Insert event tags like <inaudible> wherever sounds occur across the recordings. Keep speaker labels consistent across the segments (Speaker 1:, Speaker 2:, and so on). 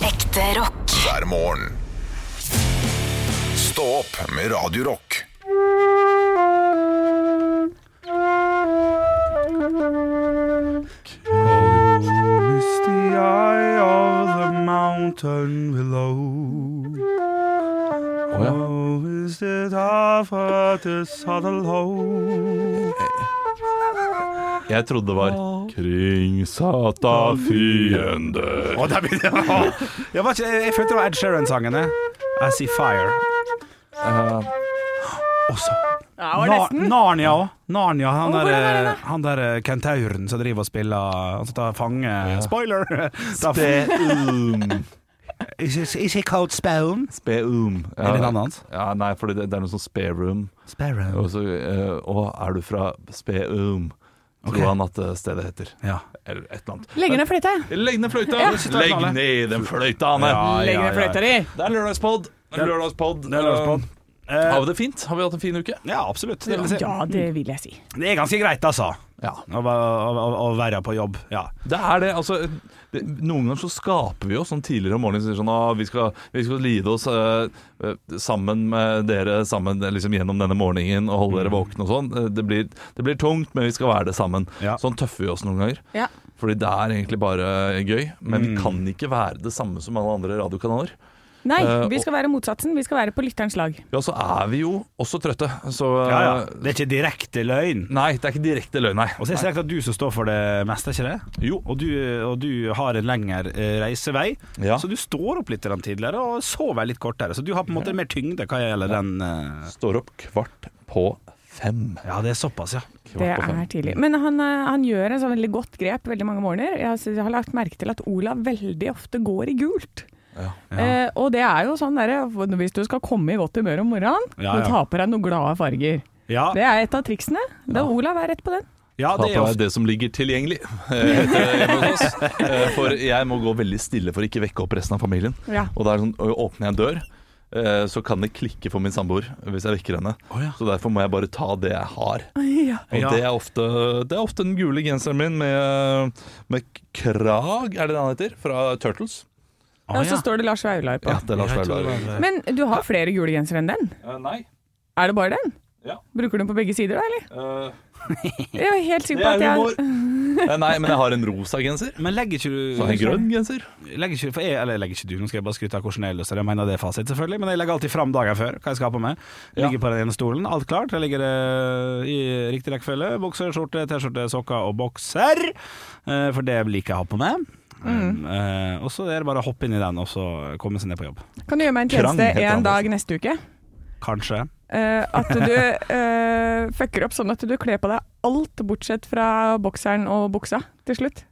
Speaker 1: Ekte rock.
Speaker 2: hver morgen. Stå opp med Radio Rock.
Speaker 3: Misty eye of the mountain below.
Speaker 4: Å ja.
Speaker 3: Oh, is it half at the saddle low?
Speaker 4: Jeg trodde det var Kringsatt av fiender.
Speaker 3: Å, der begynte jeg. Å, jeg, var ikke, jeg, jeg følte det var Ed Sheeran-sangen. jeg. I See Fire.
Speaker 4: <laughs>
Speaker 3: Også.
Speaker 5: Ja, det var
Speaker 3: Na
Speaker 5: nesten.
Speaker 3: Narnia òg. Narnia, han
Speaker 5: Å, hvordan er
Speaker 3: der, eh,
Speaker 5: den da?
Speaker 3: han der kentauren som driver og spiller Han som tar fange <laughs> Spoiler! Tar f-
Speaker 4: Speum.
Speaker 3: Is it- is he called Spown?
Speaker 4: Speum. um. Ja.
Speaker 3: Er det navnet hans?
Speaker 4: Ja, nei, for det, det er noe sånn speroom.
Speaker 3: Sparrow.
Speaker 4: Og så eh, Å, er du fra Speum? Tror
Speaker 3: Ok.
Speaker 4: han at eh, stedet heter.
Speaker 3: Ja.
Speaker 4: Eller et eller annet.
Speaker 5: Legger ned fløyta.
Speaker 4: Legg ned fløyta! Legg
Speaker 3: Legg
Speaker 4: ned den fløyta, Anne!
Speaker 5: Legger ned fløyta di.
Speaker 4: Det er lørdagspod. Det er lørdagspod.
Speaker 3: Det er lørdagspod.
Speaker 4: Eh,
Speaker 3: Eh,
Speaker 4: Har vi det fint? Har vi hatt en fin uke?
Speaker 3: ja, absolutt. Det, vil si-
Speaker 5: Ja, det vil jeg si.
Speaker 3: det er ganske greit, altså.
Speaker 4: Ja.
Speaker 3: Å, va- å, å, å være på jobb. Ja.
Speaker 4: Det er det. altså det, Noen ganger så skaper vi oss sånn tidligere om morgenen sier sånn at vi, skal- vi skal lide oss eh, eh, sammen med dere sammen eh, liksom gjennom denne morgenen og holde
Speaker 3: Mm.
Speaker 4: dere våkne og sånn. Eh, Det blir, det blir tungt, men vi skal være det sammen.
Speaker 3: Ja.
Speaker 4: Sånn tøffer vi oss noen ganger.
Speaker 5: Ja.
Speaker 4: Fordi det er egentlig bare gøy, men
Speaker 3: Mm.
Speaker 4: vi kan ikke være det samme som alle andre radiokanaler.
Speaker 5: Nei,
Speaker 4: Eh,
Speaker 5: vi skal være motsatsen. Vi skal være på lytterens lag.
Speaker 4: Ja, så er vi jo også trøtte, så eh,
Speaker 3: Ja, ja. Det er ikke direkte løgn.
Speaker 4: Nei, det er ikke direkte løgn, nei.
Speaker 3: Og så er det sikkert at du som står for det meste, er ikke det?
Speaker 4: Jo.
Speaker 3: Og du, og du har en lengre eh, reisevei,
Speaker 4: Ja.
Speaker 3: så du står opp litt grann tidligere og sover litt kortere. Så du har på en måte mer tyngde hva gjelder den eh,
Speaker 4: Står opp kvart på fem.
Speaker 3: Ja, det er såpass, ja.
Speaker 5: Det
Speaker 4: Kvart på fem.
Speaker 5: er tidlig. Men han, eh, han gjør en sånn veldig godt grep veldig mange morgener. Jeg har, s- jeg har lagt merke til at Olav veldig ofte går i gult. Eh, og det er jo sånn derre Hvis du skal komme i godt humør om morgenen,
Speaker 3: Ja,
Speaker 5: du
Speaker 3: ja.
Speaker 5: tar på deg noen glade farger.
Speaker 3: Ja,
Speaker 4: Ah.
Speaker 5: Det er et av triksene. Da Olav er rett på den.
Speaker 3: ja
Speaker 4: Ta
Speaker 3: det er
Speaker 4: på
Speaker 3: ofte
Speaker 4: deg det som ligger tilgjengelig, heter
Speaker 3: <laughs>
Speaker 4: det hjemme hos oss. Eh, For jeg må gå veldig stille for å ikke vekke opp resten av familien.
Speaker 5: Ja.
Speaker 4: Og det er sånn, ø, åpner jeg en dør, eh, så kan det klikke for min samboer hvis jeg vekker henne.
Speaker 3: Å, ja.
Speaker 4: Så derfor må jeg bare ta det jeg har.
Speaker 5: <laughs> Ja.
Speaker 4: Og
Speaker 3: Ja.
Speaker 4: det, er ofte, det er ofte den gule genseren min med, med krag, er det det han heter? Fra Turtles.
Speaker 3: Å,
Speaker 5: Og så
Speaker 3: ja.
Speaker 5: står det Lars Vaular på.
Speaker 4: Ah, Ja, det er Lars
Speaker 3: Jeg tror det
Speaker 4: Vaular.
Speaker 3: var-
Speaker 5: Men du har flere gule gensere enn den.
Speaker 4: Eh, Nei.
Speaker 5: Er det bare den?
Speaker 4: Ja.
Speaker 5: Bruker du den på begge sider da, eller?
Speaker 4: eh,
Speaker 5: Jeg er helt sikker
Speaker 4: Det
Speaker 5: på
Speaker 4: er
Speaker 5: at jeg
Speaker 4: humor. Eh, Nei, men jeg har en rosa genser.
Speaker 3: Men legger ikke du
Speaker 4: Så har jeg en grønn genser.
Speaker 3: Legger ikke, for jeg, eller legger ikke du, nå skal jeg bare skryte av hvordan jeg løser det. Jeg mener det er fasit, selvfølgelig, men jeg legger alltid fram dagen før hva jeg skal ha på meg.
Speaker 4: Ja.
Speaker 3: Ligger på den ene stolen, alt klart. Jeg ligger eh, i riktig rekkefølge. Bokser, skjorte, T-skjorte, sokker og bokser. Eh, For det liker jeg å ha på meg.
Speaker 5: Mm.
Speaker 3: Um, eh, og så er det bare å hoppe inn i den og så komme seg ned på jobb.
Speaker 5: <laughs> Kan du gjøre meg en
Speaker 4: Krang
Speaker 5: tjeneste
Speaker 4: heter han
Speaker 5: en
Speaker 4: også.
Speaker 5: dag neste uke?
Speaker 3: Kanskje.
Speaker 5: Eh, at du eh, fucker opp sånn at du kler på deg alt bortsett fra bokseren og buksa til slutt.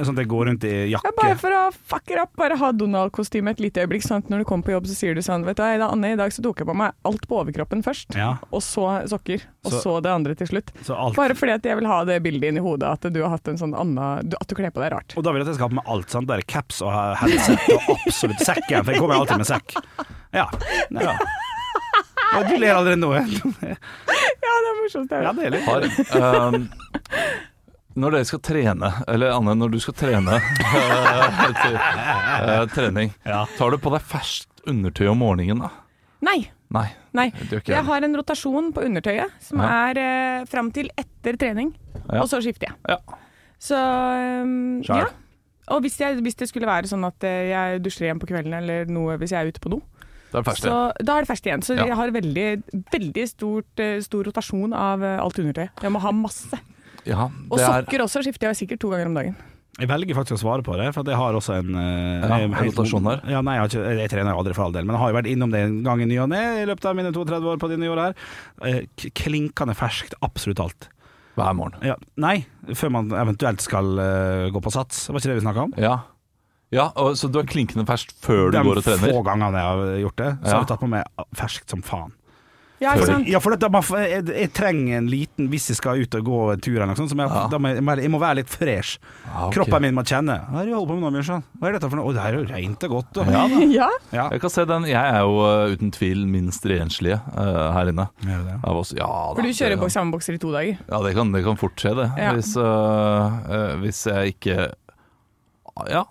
Speaker 3: Sånn at jeg går rundt i
Speaker 5: Ja,
Speaker 3: jakke.
Speaker 5: bare for å fucke opp, bare ha Donald-kostyme et lite øyeblikk, sånn at når du kommer på jobb så sier du sånn, vet du hva, Ida, Anne, i dag så tok jeg på meg alt på overkroppen først,
Speaker 3: Ja,
Speaker 5: og så sokker, og
Speaker 3: Så-
Speaker 5: så det andre til slutt.
Speaker 3: så alt.
Speaker 5: Bare fordi at jeg vil ha det bildet inn i hodet, at du har hatt en sånn annen, du- at du kler på deg rart.
Speaker 3: Og da vil jeg at jeg skal ha på meg alt. Sant? Der caps og headset og absolutt sekken, for jeg kommer alltid med sekk. Ja.
Speaker 5: <laughs>
Speaker 3: ja. Og du ler allerede nå. ja.
Speaker 5: Ja, det er morsomt.
Speaker 3: Ja, det er litt
Speaker 4: har ehm, Når dere skal trene, eller Anne, når du skal trene <laughs> eh, til, eh, trening,
Speaker 3: Ja.
Speaker 4: tar du på deg ferskt undertøy om morgenen da?
Speaker 5: Nei,
Speaker 4: Nei.
Speaker 5: Nei.
Speaker 4: Det gjør ikke
Speaker 5: Jeg
Speaker 4: jeg.
Speaker 5: har en rotasjon på undertøyet som
Speaker 4: Ja.
Speaker 5: er eh, fram til etter trening,
Speaker 4: Ja.
Speaker 5: og så skifter jeg.
Speaker 4: Ja.
Speaker 5: Så ehm,
Speaker 3: Skjær.
Speaker 5: ja. Og hvis, jeg, hvis det skulle være sånn at eh, jeg dusjer igjen på kvelden eller noe hvis jeg er ute på do,
Speaker 4: Det er ferskt.
Speaker 5: så
Speaker 4: ja.
Speaker 5: da er det ferskt igjen. Så
Speaker 4: Ja.
Speaker 5: jeg har veldig, veldig stort, eh, stor rotasjon av eh, alt undertøyet. Jeg må ha masse.
Speaker 4: Ja,
Speaker 5: Og
Speaker 4: det er
Speaker 5: sokker også skifter jeg sikkert to ganger om dagen.
Speaker 3: Jeg velger faktisk å svare på det, for at jeg har også en eh,
Speaker 4: Ja,
Speaker 3: jeg-
Speaker 4: en rotasjon her.
Speaker 3: Ja, nei, jeg, har ikke, jeg trener jo aldri for all del, men jeg har jo vært innom det en gang i ny og ne i løpet av mine 32 år på dine år her. Eh, k- Klinkende ferskt, absolutt alt.
Speaker 4: hver morgen.
Speaker 3: Ja, nei, før man eventuelt skal eh, gå på sats. Var ikke det vi snakka om?
Speaker 4: Ja. ja og, så du er klinkende fersk før du
Speaker 3: De
Speaker 4: går og trener?
Speaker 3: få gangene jeg har gjort det, så
Speaker 4: Ja.
Speaker 3: har jeg tatt på meg ferskt som faen.
Speaker 5: Ja, ikke
Speaker 4: Før.
Speaker 5: sant?
Speaker 3: Ja, for det, da, man, får- jeg, jeg trenger en liten Hvis jeg skal ut og gå en tur, eller noe sånt, så må jeg,
Speaker 4: Ja.
Speaker 3: da må jeg, jeg må være litt fresh.
Speaker 4: Ja, Ah, ok.
Speaker 3: Kroppen min må kjenne Hva er det du holder på med nå, Bjørnson? Hva er dette for noe? Å, det her er jo rent og godt. Og,
Speaker 4: Ja, da. <laughs>
Speaker 5: Ja.
Speaker 3: ja.
Speaker 4: Jeg kan se den. Jeg er jo eh, uten tvil minst renslige eh, her inne.
Speaker 3: Er det det?
Speaker 4: Av oss. Ja, da,
Speaker 5: For du kjører
Speaker 4: det-
Speaker 5: bok- samme bokser i to dager.
Speaker 4: Ja, det kan, det kan fort skje, det.
Speaker 5: Ja.
Speaker 4: Hvis, øh, øh, hvis jeg ikke Ja.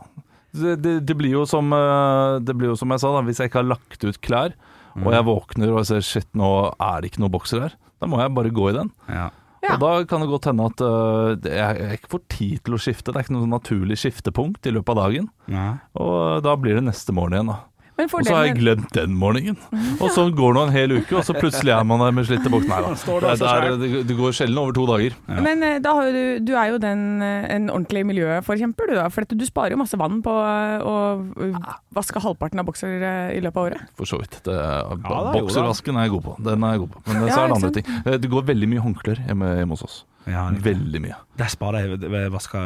Speaker 4: det, det- det blir jo som eh, Det blir jo som jeg sa, da, hvis jeg ikke har lagt ut klær, og jeg våkner og ser shit, nå er det ikke noe bokser her, da må jeg bare gå i den.
Speaker 3: Ja.
Speaker 5: Ja.
Speaker 4: Og da kan det godt hende at eh, jeg, jeg ikke får tid til å skifte. Det er ikke noe sånn naturlig skiftepunkt i løpet av dagen.
Speaker 3: Nei.
Speaker 4: Og øh, da blir det neste morgen igjen, da.
Speaker 5: Men
Speaker 4: Og så har jeg
Speaker 5: fordelen, Mm.
Speaker 4: glemt den morgenen. Og sånn går det nå en hel uke, og så plutselig er man der med slitte bukser. Nei da.
Speaker 3: Står
Speaker 4: Det,
Speaker 3: det altså
Speaker 4: er- det, det går sjelden over to dager.
Speaker 5: men eh, da har jo du, du er jo den, eh, en ordentlig miljøforkjemper, du da. For at du sparer jo masse vann på eh, å eh, vaske halvparten av bokser eh, i løpet av året.
Speaker 4: For så vidt. Det,
Speaker 3: da, jo da.
Speaker 4: bokservasken er jeg god på. Den er jeg god på. Men så
Speaker 5: Ja,
Speaker 4: er det
Speaker 5: ikke
Speaker 4: andre
Speaker 5: sant?
Speaker 4: ting. Eh, Det går veldig mye håndklær hjemme, hjemme hos oss.
Speaker 3: Ja, riktig.
Speaker 4: Veldig mye.
Speaker 3: Der sparer jeg ved vaska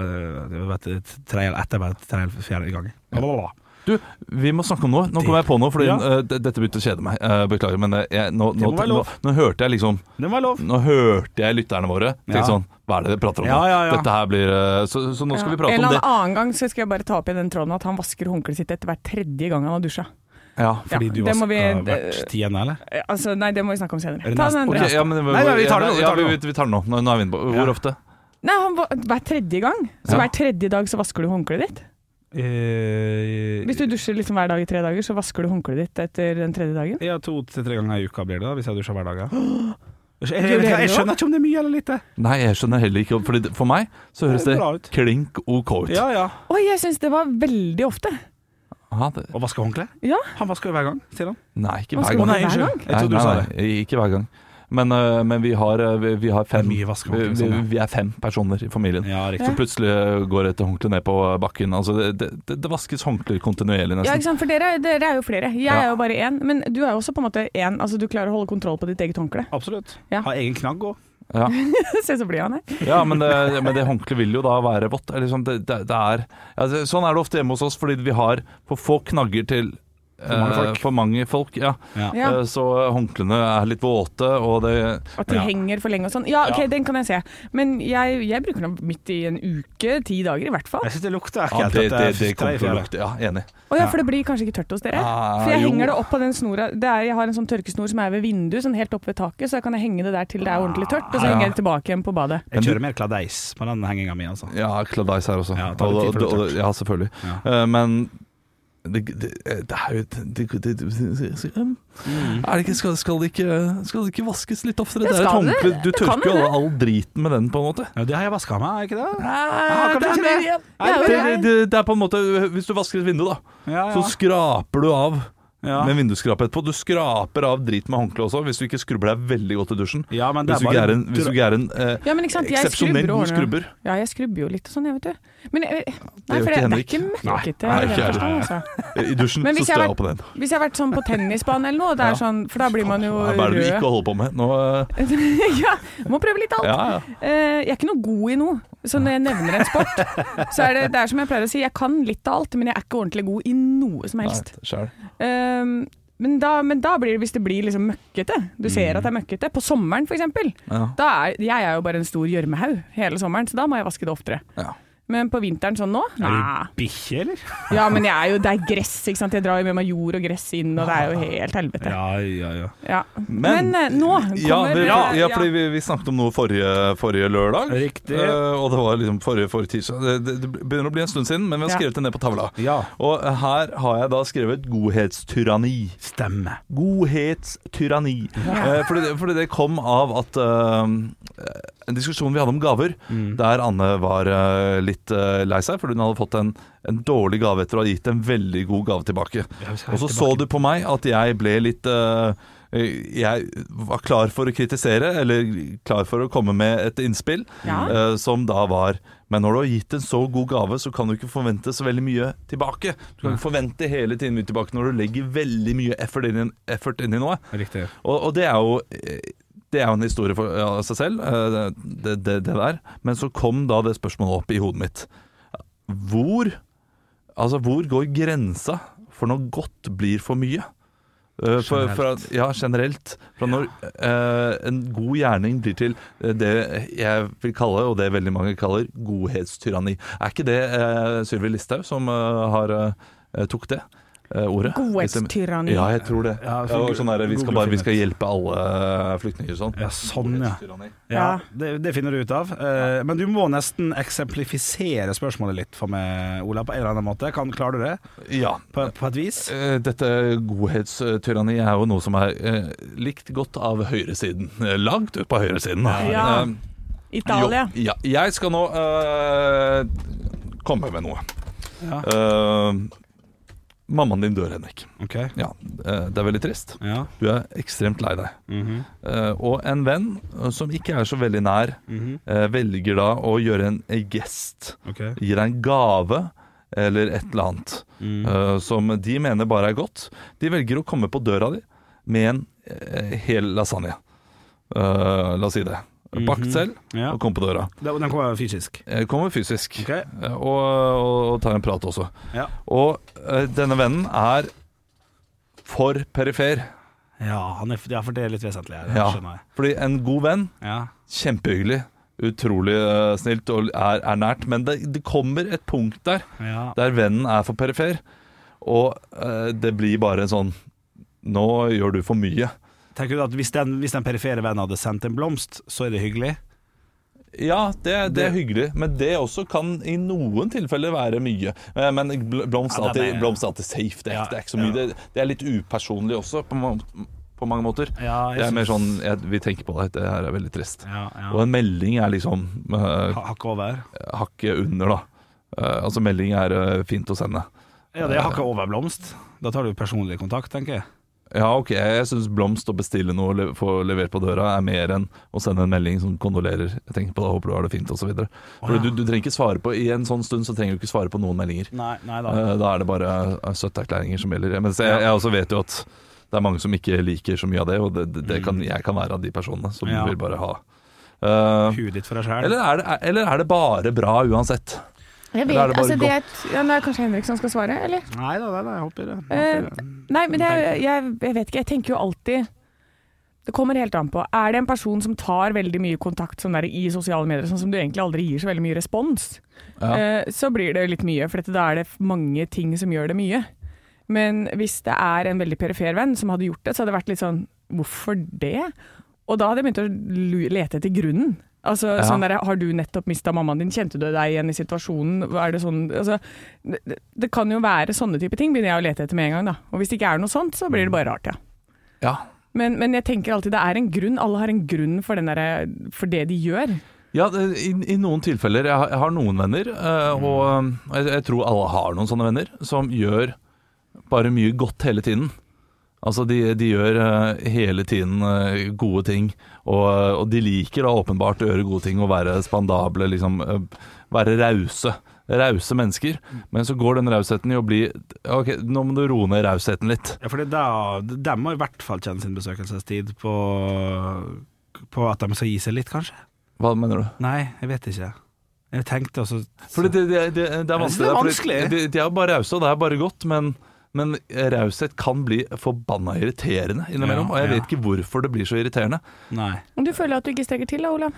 Speaker 3: tre eller etter hver tre eller fjerde gang. Blablabla.
Speaker 4: Du, vi må snakke om noe. Nå kom jeg på noe, fordi
Speaker 3: Ja.
Speaker 4: eh, d- dette begynte å kjede meg. Eh, beklager, men eh, jeg, nå, nå,
Speaker 3: må være
Speaker 4: nå,
Speaker 3: lov.
Speaker 4: nå hørte jeg liksom
Speaker 3: Det må være lov.
Speaker 4: Nå hørte jeg lytterne våre tenke
Speaker 3: Ja.
Speaker 4: sånn Hva er det dere prater om? nå?
Speaker 3: Ja, ja, ja.
Speaker 4: Dette her blir eh, Så, så nå skal vi prate
Speaker 5: en
Speaker 4: om
Speaker 5: eller
Speaker 4: det.
Speaker 5: annen annen gang så skal jeg bare ta opp i den tråden at han vasker håndkleet sitt etter hver tredje gang han har dusja.
Speaker 4: Ja.
Speaker 3: Fordi
Speaker 5: Ja,
Speaker 3: du
Speaker 5: det må
Speaker 3: vaska
Speaker 5: vi-
Speaker 3: hvert tiende, eller?
Speaker 5: Eh, Altså, nei, det må vi snakke om
Speaker 3: Er
Speaker 5: senere.
Speaker 3: det
Speaker 5: Ta
Speaker 3: neste-
Speaker 5: den
Speaker 4: Ok,
Speaker 5: andre.
Speaker 4: ja, men,
Speaker 3: Nei, nei, vi tar det nå, vi
Speaker 4: Ja,
Speaker 3: tar det nå.
Speaker 4: vi, vi tar det nå. Nå, nå er vi inne på
Speaker 3: Ja.
Speaker 4: Hvor ofte?
Speaker 5: Nei, han, va- hver tredje gang. Så
Speaker 4: Ja.
Speaker 5: hver tredje dag så vasker du håndkleet ditt.
Speaker 3: Eh,
Speaker 5: Hvis du dusjer liksom hver dag i tre dager, så vasker du håndkleet ditt etter den tredje dagen.
Speaker 3: Ja, to til tre ganger i uka blir det, da, hvis jeg dusjer hver
Speaker 5: <gasps>
Speaker 3: dag. Ja. Jeg, jeg,
Speaker 5: Gjør du
Speaker 3: jeg,
Speaker 5: det
Speaker 3: jeg skjønner ikke om det er mye eller lite.
Speaker 4: Nei, jeg skjønner heller ikke Fordi det- For meg så
Speaker 3: Det
Speaker 4: høres det
Speaker 3: er bra ut.
Speaker 4: klink OK ut.
Speaker 3: Ja, ja.
Speaker 5: Oi, jeg syns det var veldig ofte.
Speaker 4: Aha, det,
Speaker 3: Og vaske håndkle?
Speaker 5: Ja.
Speaker 3: Han vasker jo hver gang, sier han.
Speaker 4: nei, ikke
Speaker 5: Man
Speaker 4: hver
Speaker 5: skal
Speaker 4: gang.
Speaker 5: Å,
Speaker 3: Å nei,
Speaker 5: hver gang?
Speaker 3: unnskyld. Jeg trodde du sa det.
Speaker 4: Ikke hver gang. Men, øh, men vi, har, øh, vi, vi har fem
Speaker 3: Det er mye vask og
Speaker 4: vi,
Speaker 3: håndkle,
Speaker 4: vi,
Speaker 3: sånn, ja.
Speaker 4: vi er fem personer i familien.
Speaker 3: Ja,
Speaker 4: Så
Speaker 3: riktig.
Speaker 4: plutselig eh, går et håndkle ned på bakken. Altså, det, det, det, det vaskes håndklær kontinuerlig,
Speaker 5: Ja,
Speaker 4: nesten.
Speaker 5: ikke sant? For dere, dere er jo flere. Jeg
Speaker 4: Ja.
Speaker 5: er jo bare én. Men du er jo også på en måte én. Altså, du klarer å holde kontroll på ditt eget håndkle. <laughs>
Speaker 3: Absolutt.
Speaker 5: Ja.
Speaker 3: Ha egen knagg òg.
Speaker 4: Ja,
Speaker 5: Se, så blir han her.
Speaker 4: ja men, det, men det håndkleet vil jo da være vått. Eller sånn, det, det, det er, ja, det, sånn er det ofte hjemme hos oss, fordi vi har for få knagger til
Speaker 3: For mange
Speaker 4: øh,
Speaker 3: folk.
Speaker 4: for mange folk ja.
Speaker 5: Ja.
Speaker 4: Eh, Så håndklærne er litt våte, og det
Speaker 5: At de
Speaker 4: Ja.
Speaker 5: henger for lenge og sånn. Ja, OK,
Speaker 4: Ja.
Speaker 5: den kan jeg se. Men jeg, jeg bruker den midt i en uke, ti dager i hvert fall.
Speaker 3: Jeg syns det lukter
Speaker 4: ja,
Speaker 3: ekkelt.
Speaker 4: det, det,
Speaker 3: etter
Speaker 4: det kommer
Speaker 3: tre,
Speaker 4: til å
Speaker 3: fire.
Speaker 4: lukte. Ja, enig.
Speaker 5: Å ja, for det blir kanskje ikke tørt hos dere?
Speaker 4: Ah,
Speaker 5: For jeg
Speaker 4: jo.
Speaker 5: henger det opp på den snora det er, Jeg har en sånn tørkesnor som er ved vinduet, sånn helt oppe ved taket, så jeg kan henge det der til det er ordentlig tørt, og så
Speaker 4: Ah, Ja.
Speaker 5: henger jeg det tilbake igjen på badet.
Speaker 3: Jeg kjører mer kladeis på den henginga mi, altså.
Speaker 4: Ja, Cladice her også.
Speaker 3: Ja, det tar litt tid før
Speaker 4: Og-
Speaker 3: det
Speaker 4: og-
Speaker 3: er
Speaker 4: og-
Speaker 3: tørt.
Speaker 4: ja selvfølgelig.
Speaker 3: Ja.
Speaker 4: Eh, men det, det, det er jo det, det, det, det, er det ikke, skal, skal, det ikke, skal det ikke vaskes litt oftere?
Speaker 5: Det
Speaker 4: Det er et
Speaker 5: skal det.
Speaker 4: håndkle. Du
Speaker 5: Det kan
Speaker 4: tørker jo
Speaker 5: det.
Speaker 4: all, all driten med den, på en måte.
Speaker 3: Ja, det har jeg vaska meg, er ikke det?
Speaker 4: Ah,
Speaker 5: Ah,
Speaker 4: Nei,
Speaker 3: det er mer
Speaker 4: det,
Speaker 5: Det er jo
Speaker 4: det, det, det er på en måte Hvis du vasker et vindu, da,
Speaker 3: Ja,
Speaker 4: så skraper du av
Speaker 3: Ja.
Speaker 4: med vindusskrapet etterpå. Du skraper av drit med håndkle også, hvis du ikke skrubber deg veldig godt i dusjen.
Speaker 3: Ja, men det er
Speaker 4: Hvis du ikke
Speaker 3: bare
Speaker 4: er en, hvis du ikke er en eh,
Speaker 5: Ja, men ikke sant? Jeg
Speaker 4: eksepsjonell
Speaker 5: skrubber
Speaker 4: god
Speaker 5: årene.
Speaker 4: skrubber.
Speaker 5: Ja, jeg skrubber jo litt og sånn, jeg, vet du. Men jeg, nei,
Speaker 4: gjør
Speaker 5: for
Speaker 4: ikke
Speaker 5: det, det er
Speaker 4: Henrik.
Speaker 5: ikke møkkete.
Speaker 4: Nei,
Speaker 5: i den
Speaker 4: ikke jeg
Speaker 5: forstand, altså.
Speaker 4: I dusjen
Speaker 5: Men
Speaker 4: så
Speaker 5: hvis jeg
Speaker 4: står
Speaker 5: har
Speaker 4: jeg opp på den.
Speaker 5: Hvis jeg har vært sånn på tennisbanen eller noe, det er
Speaker 4: Ja.
Speaker 5: sånn, for da blir man jo
Speaker 4: Hva er det du ikke
Speaker 5: rød.
Speaker 4: holder på med? Nå, eh,
Speaker 5: <laughs> ja, må prøve litt alt.
Speaker 4: ja, ja.
Speaker 5: Eh, jeg er ikke noe god i noe. Så når jeg nevner en
Speaker 4: <laughs>
Speaker 5: sport, så er det, det er som jeg pleier å si, jeg kan litt av alt, men jeg er ikke ordentlig god i noe som helst.
Speaker 4: Nei, sjæl.
Speaker 5: Ehm, men, da, men da blir det hvis det blir liksom møkkete. Du ser at det er
Speaker 4: Mm.
Speaker 5: møkkete. På sommeren f.eks.
Speaker 4: Ja.
Speaker 5: Da er, jeg er jo bare en stor gjørmehaug hele sommeren, så da må jeg vaske det oftere.
Speaker 4: Ja.
Speaker 5: Men på vinteren sånn nå?
Speaker 3: Er
Speaker 5: Nei.
Speaker 3: du bikkje, eller?
Speaker 5: Ja, men jeg er jo, det er gress, ikke sant. Jeg drar jo med meg jord og gress inn, og det er jo helt helvete.
Speaker 3: Ja, ja, ja.
Speaker 5: Ja. Men, eh, nå kommer
Speaker 4: ja, vi, ja,
Speaker 5: eh,
Speaker 4: fordi vi, vi snakket om noe forrige, forrige lørdag.
Speaker 3: Riktig.
Speaker 4: Eh, og det var liksom forrige, forrige tirsdag. Det, det, det begynner å bli en stund siden, men vi har
Speaker 5: Ja.
Speaker 4: skrevet det ned på tavla.
Speaker 3: Ja.
Speaker 4: Og her har jeg da skrevet 'godhetstyranni'.
Speaker 3: Stemmer.
Speaker 4: Godhetstyranni. Eh, fordi, det, fordi det kom av at eh, En diskusjon vi hadde om gaver,
Speaker 3: Mm.
Speaker 4: der Anne var eh, litt eh, lei seg fordi hun hadde fått en, en dårlig gave etter å ha gitt en veldig god gave tilbake.
Speaker 3: vi skal
Speaker 4: Og så
Speaker 3: tilbake.
Speaker 4: så du på meg at jeg ble litt eh, jeg var klar for å kritisere, eller klar for å komme med et innspill,
Speaker 5: Ja.
Speaker 4: eh, som da var Men når du har gitt en så god gave, så kan du ikke forvente så veldig mye tilbake. Du kan ikke forvente hele tiden mye tilbake når du legger veldig mye effort inn i, effort inn i noe.
Speaker 3: Riktig.
Speaker 4: Og, og det er jo eh, det er jo en historie for ja, seg selv, eh, det, det, det der. Men så kom da det spørsmålet opp i hodet mitt. Hvor, altså, hvor går grensa for når godt blir for mye? Eh, For, for, at- ja, generelt. Fra når eh, en god gjerning blir til eh, det jeg vil kalle, og det veldig mange kaller, godhetstyranni. Er ikke det eh, Sylvi Listhaug som eh, har, eh, tok det? eh, ordet.
Speaker 5: Godhetstyranni.
Speaker 4: Ja, jeg tror det.
Speaker 3: Ja,
Speaker 4: det var sånn der, vi, skal
Speaker 3: Google
Speaker 4: bare, vi skal
Speaker 3: finner
Speaker 4: hjelpe alle eh, flyktninger og sånn.
Speaker 3: Ja, sånn, ja.
Speaker 4: Godhetstyranni.
Speaker 3: Ja,
Speaker 5: Ja.
Speaker 3: det, det finner du ut av. Eh, men du må nesten eksemplifisere spørsmålet litt for meg, Ola, på en eller annen måte. Kan, klarer du det?
Speaker 4: Ja.
Speaker 3: På, på et vis?
Speaker 4: Eh, Dette godhetstyranni er jo noe som er eh, likt godt av høyresiden. Eh, Langt ut på høyresiden. da.
Speaker 5: Ja.
Speaker 4: Eh,
Speaker 5: Italia.
Speaker 4: Jo, ja. Jeg skal nå eh, komme med noe.
Speaker 3: Ja.
Speaker 4: Eh, mammaen din dør, Henrik.
Speaker 3: OK.
Speaker 4: Ja, eh, det er veldig trist.
Speaker 3: Ja.
Speaker 4: Du er ekstremt lei deg.
Speaker 3: mhm,
Speaker 4: Eh, og en venn eh, som ikke er så veldig nær,
Speaker 3: mhm,
Speaker 4: eh, velger da å gjøre en eh, gest.
Speaker 3: ok.
Speaker 4: Gir deg en gave eller et eller annet
Speaker 3: Mm.
Speaker 4: eh, som de mener bare er godt. De velger å komme på døra di med en eh, hel lasagne. Eh, la oss si det. Bakt selv
Speaker 3: Mhm. Ja.
Speaker 4: og kom på døra.
Speaker 3: Den den kommer fysisk.
Speaker 4: Jeg kommer fysisk
Speaker 3: Ok.
Speaker 4: eh, og, og, og tar en prat også.
Speaker 3: Ja.
Speaker 4: Og eh, denne vennen er for perifer.
Speaker 3: Ja, han er, ja, for det er litt vesentlig her.
Speaker 4: Ja.
Speaker 3: Skjønner jeg.
Speaker 4: Fordi en god venn
Speaker 3: Ja.
Speaker 4: Kjempehyggelig. Utrolig eh, snilt og er, er nært. Men det, det kommer et punkt der
Speaker 3: Ja.
Speaker 4: der vennen er for perifer, og eh, det blir bare en sånn Nå gjør du for mye.
Speaker 3: Tenker du at hvis den, hvis den perifere vennen hadde sendt en blomst, så er det hyggelig?
Speaker 4: Ja, det, det er
Speaker 3: Det-
Speaker 4: hyggelig, men det også kan i noen tilfeller være mye. Eh, Men bl- blomst
Speaker 3: Ja, det er
Speaker 4: er alltid,
Speaker 3: meg, ja.
Speaker 4: blomst er alltid safe. Det er,
Speaker 3: Ja,
Speaker 4: det er ikke så mye.
Speaker 3: ja.
Speaker 4: Det, det er litt upersonlig også, på, ma- på mange måter.
Speaker 3: Ja,
Speaker 4: Det er mer sånn jeg, Vi tenker på deg, det her er veldig trist.
Speaker 3: ja, ja.
Speaker 4: Og en melding er liksom eh,
Speaker 3: Ha- Hakket over?
Speaker 4: hakket under, da. Eh, altså melding er eh, fint å sende.
Speaker 3: Ja, det er hakket over blomst. Da tar du personlig kontakt, tenker jeg.
Speaker 4: Ja, ok, jeg syns blomst og bestille noe og le- få levert på døra er mer enn å sende en melding som kondolerer. Jeg tenker på det, håper du har det fint, osv.
Speaker 3: Wow.
Speaker 4: Du, du trenger ikke svare på I en sånn stund så trenger du ikke svare på noen meldinger.
Speaker 3: Nei, nei da.
Speaker 4: Eh, da er det bare eh, støtteerklæringer som gjelder. Men jeg, jeg også vet jo at det er mange som ikke liker så mye av det, og det, det, det kan, jeg kan være av de personene som
Speaker 3: Ja.
Speaker 4: vil bare ha. Eh,
Speaker 3: Huet ditt for deg sjæl.
Speaker 4: eller, er det, eller er det bare bra uansett?
Speaker 5: Jeg vet,
Speaker 4: Eller er det bare
Speaker 5: altså, det er, et- ja, nå er det kanskje Henrik som skal svare, eller?
Speaker 3: Nei da, nei, da, jeg håper det.
Speaker 5: Eh,
Speaker 3: Jeg håper det.
Speaker 5: Nei, men jeg, jeg, jeg vet ikke. Jeg tenker jo alltid Det kommer helt an på. Er det en person som tar veldig mye kontakt sånn der, i sosiale medier, sånn som du egentlig aldri gir så veldig mye respons,
Speaker 4: Ja.
Speaker 5: eh, så blir det litt mye. For dette, da er det mange ting som gjør det mye. Men hvis det er en veldig perifer venn som hadde gjort det, så hadde det vært litt sånn Hvorfor det? Og da hadde jeg begynt å lu- lete etter grunnen. Altså,
Speaker 4: Ja.
Speaker 5: sånn der, Har du nettopp mista mammaen din? Kjente du deg igjen i situasjonen? Er det sånn altså, det, det- det kan jo være sånne type ting, begynner jeg å lete etter med en gang. da. Og hvis det ikke er noe sånt, så blir det bare rart, ja.
Speaker 4: Ja.
Speaker 5: Men, men jeg tenker alltid det er en grunn. Alle har en grunn for, den derre- for det de gjør.
Speaker 4: Ja, det, i, i noen tilfeller. Jeg har, jeg har noen venner, eh, og eh, jeg, jeg tror alle har noen sånne venner, som gjør bare mye godt hele tiden. Altså, de, de gjør eh, hele tiden eh, gode ting, og, eh, og de liker da åpenbart å gjøre gode ting og være spandable, liksom eh, være rause. Rause mennesker. Men så går den rausheten i å bli Ok, nå må du roe ned rausheten litt.
Speaker 3: Ja, for det er da, de må i hvert fall kjenne sin besøkelsestid på, på at de skal gi seg litt, kanskje.
Speaker 4: Hva mener du?
Speaker 3: Nei, jeg vet ikke. Jeg tenkte også
Speaker 4: Fordi det, det, det, det er
Speaker 3: Jeg synes det
Speaker 4: vanskelig.
Speaker 3: er
Speaker 4: fordi
Speaker 3: vanskelig.
Speaker 4: De, de er jo bare rause, og det er bare godt, men, men raushet kan bli forbanna irriterende
Speaker 3: Ja,
Speaker 4: innimellom. og jeg
Speaker 3: ja.
Speaker 4: vet ikke hvorfor det blir så irriterende.
Speaker 3: Nei.
Speaker 5: Om du føler at du ikke strekker til da, Olav?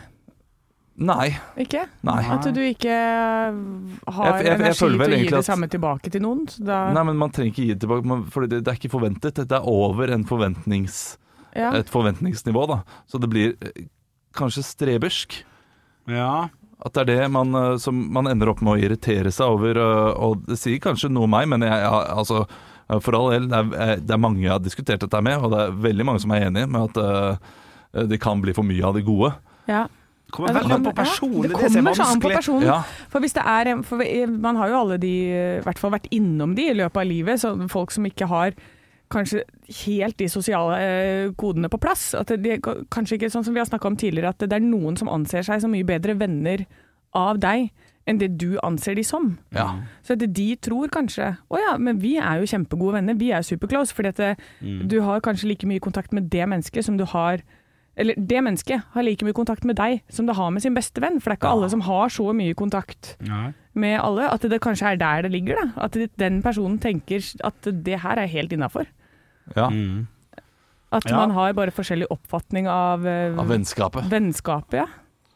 Speaker 4: Nei.
Speaker 5: Ikke?
Speaker 4: Nei.
Speaker 5: At du ikke eh, har
Speaker 4: Jeg- jeg- jeg
Speaker 5: energi
Speaker 4: føler vel
Speaker 5: til å gi
Speaker 4: egentlig
Speaker 5: det
Speaker 4: at-
Speaker 5: samme tilbake til noen. så Da,
Speaker 4: Nei, men man trenger ikke gi det tilbake, man- for det, det er ikke forventet. Det er over en forventnings,
Speaker 5: ja.
Speaker 4: et forventningsnivå, da. Så det blir eh, kanskje strebersk.
Speaker 3: Ja.
Speaker 4: At det er det man, eh, som man ender opp med å irritere seg over. eh, Og det sier kanskje noe om meg, men jeg, jeg, altså, eh, for all del, det er, eh, det er mange jeg har diskutert dette med, og det er veldig mange som er enige med at eh, det kan bli for mye av det gode.
Speaker 5: ja.
Speaker 3: Kommer
Speaker 5: Ja, det
Speaker 3: veldig an
Speaker 5: kommer-
Speaker 3: på personen.
Speaker 5: ja, det
Speaker 3: er det som
Speaker 5: kommer
Speaker 3: er
Speaker 5: så an på
Speaker 3: vanskelig.
Speaker 5: personen.
Speaker 4: Ja,
Speaker 5: For hvis det er, en- for vi- man har jo alle de, i hvert fall vært innom de i løpet av livet, så folk som ikke har kanskje helt de sosiale eh, kodene på plass. At de, kanskje ikke sånn som vi har snakka om tidligere, at det er noen som anser seg som mye bedre venner av deg enn det du anser de som.
Speaker 4: ja.
Speaker 5: Så at de tror kanskje å ja, men vi er jo kjempegode venner, vi er superclose. Fordi at det,
Speaker 4: Mm.
Speaker 5: du har kanskje like mye kontakt med det mennesket som du har Eller det mennesket har like mye kontakt med deg som det har med sin beste venn. For det er ikke
Speaker 4: Ja.
Speaker 5: alle som har så mye kontakt
Speaker 3: Nei.
Speaker 5: med alle, at det kanskje er der det ligger. da. At den personen tenker at det her er helt innafor.
Speaker 4: ja.
Speaker 3: Mm.
Speaker 5: At
Speaker 3: Ja.
Speaker 5: man har bare forskjellig oppfatning av, eh,
Speaker 4: Av vennskapet.
Speaker 5: vennskapet. Ja.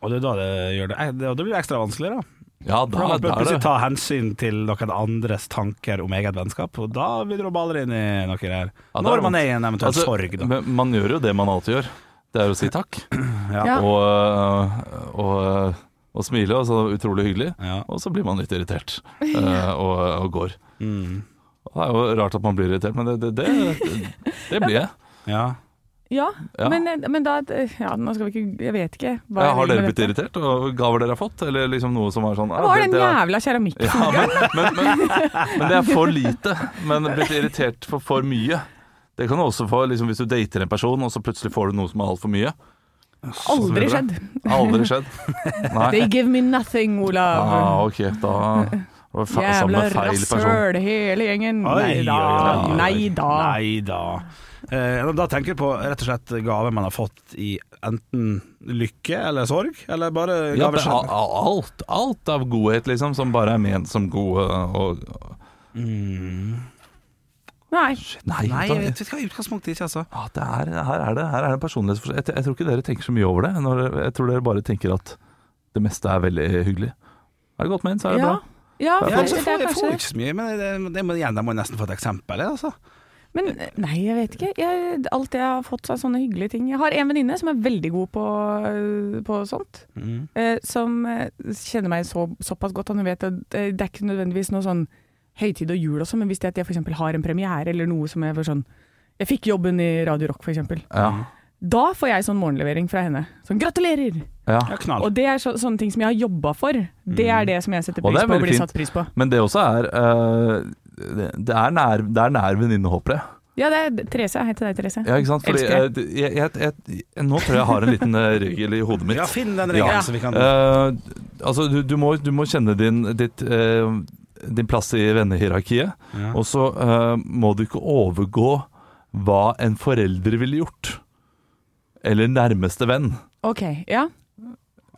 Speaker 3: Og det er da det gjør det, eh, det, og det blir ekstra vanskelig, da.
Speaker 4: Ja,
Speaker 3: For da
Speaker 4: da,
Speaker 3: må man
Speaker 4: da er
Speaker 3: plutselig
Speaker 4: det
Speaker 3: ta hensyn til noen andres tanker om eget vennskap, og da begynner man å bale inn i noe her.
Speaker 4: Ja, det er
Speaker 3: Når man
Speaker 4: vondt.
Speaker 3: er i en eventuell
Speaker 4: Altså,
Speaker 3: sorg, da.
Speaker 4: men Man gjør jo det man alltid gjør. Det er å si takk
Speaker 5: Ja.
Speaker 4: og, øh, og, øh, og smile, og så utrolig hyggelig.
Speaker 3: Ja.
Speaker 4: Og så blir man litt irritert
Speaker 5: <laughs>
Speaker 4: øh, og, og går.
Speaker 3: Mm.
Speaker 4: Det er jo rart at man blir irritert, men det, det, det, det blir jeg.
Speaker 3: ja.
Speaker 5: Ja,
Speaker 4: Ja.
Speaker 5: <laughs> Men, eh, men da ja, nå skal vi ikke, Jeg vet ikke. hva
Speaker 4: Ja,
Speaker 5: jeg
Speaker 4: har
Speaker 5: vil
Speaker 4: dere
Speaker 5: med
Speaker 4: blitt
Speaker 5: dette.
Speaker 4: irritert? Og gaver dere har fått? Eller liksom noe som er sånn
Speaker 5: Det var
Speaker 4: det-
Speaker 5: den
Speaker 4: det er-
Speaker 5: jævla
Speaker 4: <laughs>
Speaker 5: keramikken.
Speaker 4: Ja, men, men, men, men det er for lite. Men blitt irritert for for mye. Det kan du også få liksom, hvis du dater en person, og så plutselig får du noe som er altfor mye.
Speaker 5: Aldri
Speaker 4: videre.
Speaker 5: skjedd.
Speaker 4: Aldri skjedd. Nei.
Speaker 5: They give me nothing, Olav.
Speaker 4: Ah, ok, da var det fa-
Speaker 5: Jævla
Speaker 4: samme feil person.
Speaker 5: rasshøl, hele gjengen.
Speaker 3: Oi,
Speaker 5: nei da.
Speaker 3: oi, oi, oi.
Speaker 5: Nei da.
Speaker 3: Nei da. Eh, da tenker jeg på rett og slett gaver man har fått i enten lykke eller sorg, eller bare
Speaker 4: Ja,
Speaker 3: gaver
Speaker 4: men a-
Speaker 3: generelt.
Speaker 4: a- alt, alt av godhet, liksom, som bare er ment som god øh, og
Speaker 3: Mm.
Speaker 5: Nei.
Speaker 4: Nei,
Speaker 3: Nei,
Speaker 4: da-
Speaker 3: jeg vet ikke hva utgangspunktet ikke, altså.
Speaker 4: Ja, det er, her er det, her er det personlighetsforskjell. Jeg, t- jeg tror ikke dere tenker så mye over det. Når, jeg tror dere bare tenker at det meste er veldig hyggelig. Er det godt ment, så er det
Speaker 5: Ja.
Speaker 4: bra.
Speaker 5: Ja,
Speaker 4: Det er
Speaker 3: Ja,
Speaker 5: for,
Speaker 3: altså,
Speaker 5: det
Speaker 3: får,
Speaker 5: er
Speaker 3: jeg får
Speaker 5: kanskje
Speaker 3: ikke så mye, men det, det må, igjen, jeg må nesten få et eksempel. jeg, Altså.
Speaker 5: Men eh, nei, jeg vet ikke. Jeg, alt jeg har fått av sånne hyggelige ting Jeg har en venninne som er veldig god på, øh, på sånt.
Speaker 4: Mm.
Speaker 5: Eh, som eh, kjenner meg så, såpass godt at hun vet at eh, det er ikke nødvendigvis noe sånn høytid og jul også, men hvis det at jeg f.eks. har en premiere eller noe som jeg får sånn Jeg fikk jobben i Radio Rock, f.eks.
Speaker 4: Ja.
Speaker 5: Da får jeg sånn morgenlevering fra henne. Sånn 'gratulerer'!
Speaker 4: Ja.
Speaker 3: Ja, knall.
Speaker 5: Og det er så, sånne ting som jeg har jobba for. Det er det som jeg setter
Speaker 4: Og
Speaker 5: pris
Speaker 4: Mm. det er
Speaker 5: på og
Speaker 4: veldig
Speaker 5: blir
Speaker 4: fint.
Speaker 5: satt pris på.
Speaker 4: Men det også er øh, det- Det er nær, det er nær venninne, håper jeg.
Speaker 5: Ja, det er Therese. Hei til deg, Therese.
Speaker 4: Ja, ikke sant? Fordi,
Speaker 5: Elsker
Speaker 4: øh, det- jeg, jeg, jeg, jeg, nå tror jeg jeg har en liten øh, regel i hodet mitt.
Speaker 3: Ja, finn den regelen,
Speaker 4: Ja.
Speaker 3: så vi kan
Speaker 4: Eh, altså, du, du, må, du må kjenne din, ditt, eh, din plass i vennehierarkiet.
Speaker 3: Ja.
Speaker 4: Og så eh, må du ikke overgå hva en forelder ville gjort. Eller nærmeste venn.
Speaker 5: Ok, ja.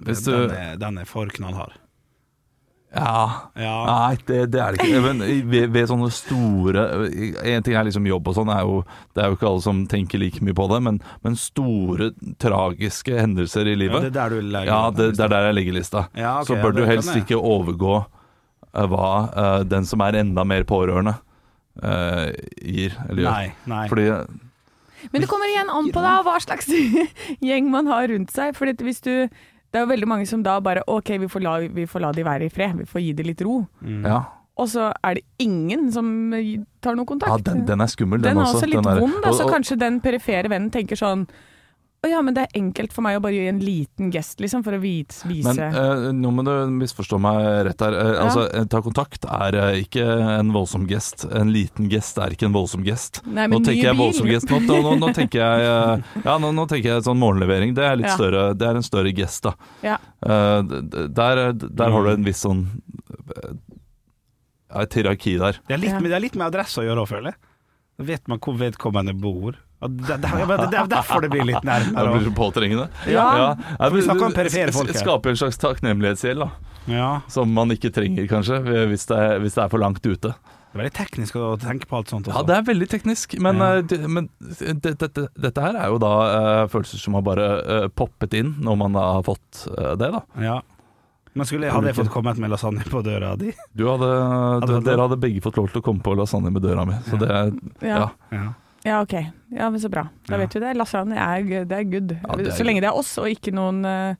Speaker 4: Hvis du
Speaker 3: den, er, den er for knallhard.
Speaker 4: Ja.
Speaker 3: Ja.
Speaker 4: Nei, det, det er det ikke. Men i- ved, ved sånne store En ting er liksom jobb og sånn, er jo- det er jo ikke alle som tenker like mye på det, men, men store tragiske hendelser i
Speaker 3: Ja, det er
Speaker 4: livet
Speaker 3: der du legger
Speaker 4: Ja,
Speaker 3: den,
Speaker 4: det,
Speaker 3: hvis
Speaker 4: det er der jeg legger lista.
Speaker 3: Ja, ok,
Speaker 4: Så
Speaker 3: ja,
Speaker 4: bør
Speaker 3: det
Speaker 4: du
Speaker 3: kan
Speaker 4: helst
Speaker 3: jeg.
Speaker 4: ikke overgå eh, hva eh, den som er enda mer pårørende, eh, gir. Eller gjør.
Speaker 3: Nei, nei.
Speaker 4: Fordi
Speaker 5: Men det kommer igjen an på da, hva slags <laughs> gjeng man har rundt seg. For hvis du, det er jo veldig mange som da bare OK, vi får, la, vi får la de være i fred. Vi får gi de litt ro.
Speaker 4: Ja,
Speaker 3: Mm.
Speaker 5: Og så er det ingen som tar noe kontakt.
Speaker 4: ja den, den er skummel, den,
Speaker 5: Den er også litt
Speaker 4: Den er-
Speaker 5: vond, altså, da, så
Speaker 4: og- og-
Speaker 5: kanskje den perifere vennen tenker sånn Å ja, men det er enkelt for meg å bare gjøre en liten gest, liksom, for å vise
Speaker 4: Men eh, nå må du misforstå meg rett her. Eh,
Speaker 5: Ja.
Speaker 4: Altså, eh, Ta kontakt er eh, ikke en voldsom gest. En liten gest er ikke en voldsom gest.
Speaker 5: Nei, men
Speaker 4: nå
Speaker 5: ny
Speaker 4: tenker jeg
Speaker 5: bil.
Speaker 4: voldsom gest. Nå, nå, nå, nå tenker jeg eh, Ja, nå, nå tenker jeg sånn morgenlevering. Det er litt
Speaker 5: Ja.
Speaker 4: større Det er en større gest, da.
Speaker 5: Ja.
Speaker 4: Eh, d- d- der, der har du en viss sånn eh, ja, Et hierarki der.
Speaker 3: Det, er litt,
Speaker 5: Ja.
Speaker 3: med- det er litt med adresse å gjøre òg, føler jeg. Da vet man hvor vedkommende bor. Og Det, det, det, det er derfor det blir litt
Speaker 4: Da
Speaker 3: nærmere.
Speaker 4: blir du påtrengende.
Speaker 5: Ja.
Speaker 4: Nei, men
Speaker 3: vi snakker om perifere folk her.
Speaker 4: Skaper en slags takknemlighetsgjeld, da.
Speaker 3: og- Ja.
Speaker 4: Som man ikke trenger, kanskje, hvis det er, hvis det er for langt
Speaker 3: Det
Speaker 4: ute.
Speaker 3: er veldig teknisk å tenke på alt sånt.
Speaker 4: Ja, det er veldig teknisk, men,
Speaker 3: Ja.
Speaker 4: eh, det- men det, dette- dette her er jo da eh, følelser som har bare eh, poppet inn når man da har fått eh, det, da.
Speaker 3: ja. Men skulle, jeg- hadde jeg fått kommet med lasagne på døra di?
Speaker 4: Du hadde,
Speaker 3: det vært
Speaker 4: dere
Speaker 3: bra?
Speaker 4: hadde begge fått lov til å komme på lasagne med døra mi, så det er
Speaker 5: ja.
Speaker 4: ja.
Speaker 3: Ja.
Speaker 5: Ja, ok. Ja, men Så bra.
Speaker 3: Ja.
Speaker 5: Da vet vi det. Lasagne er, g- det er good.
Speaker 4: Ja, det er
Speaker 5: så lenge det er oss og ikke noen eh,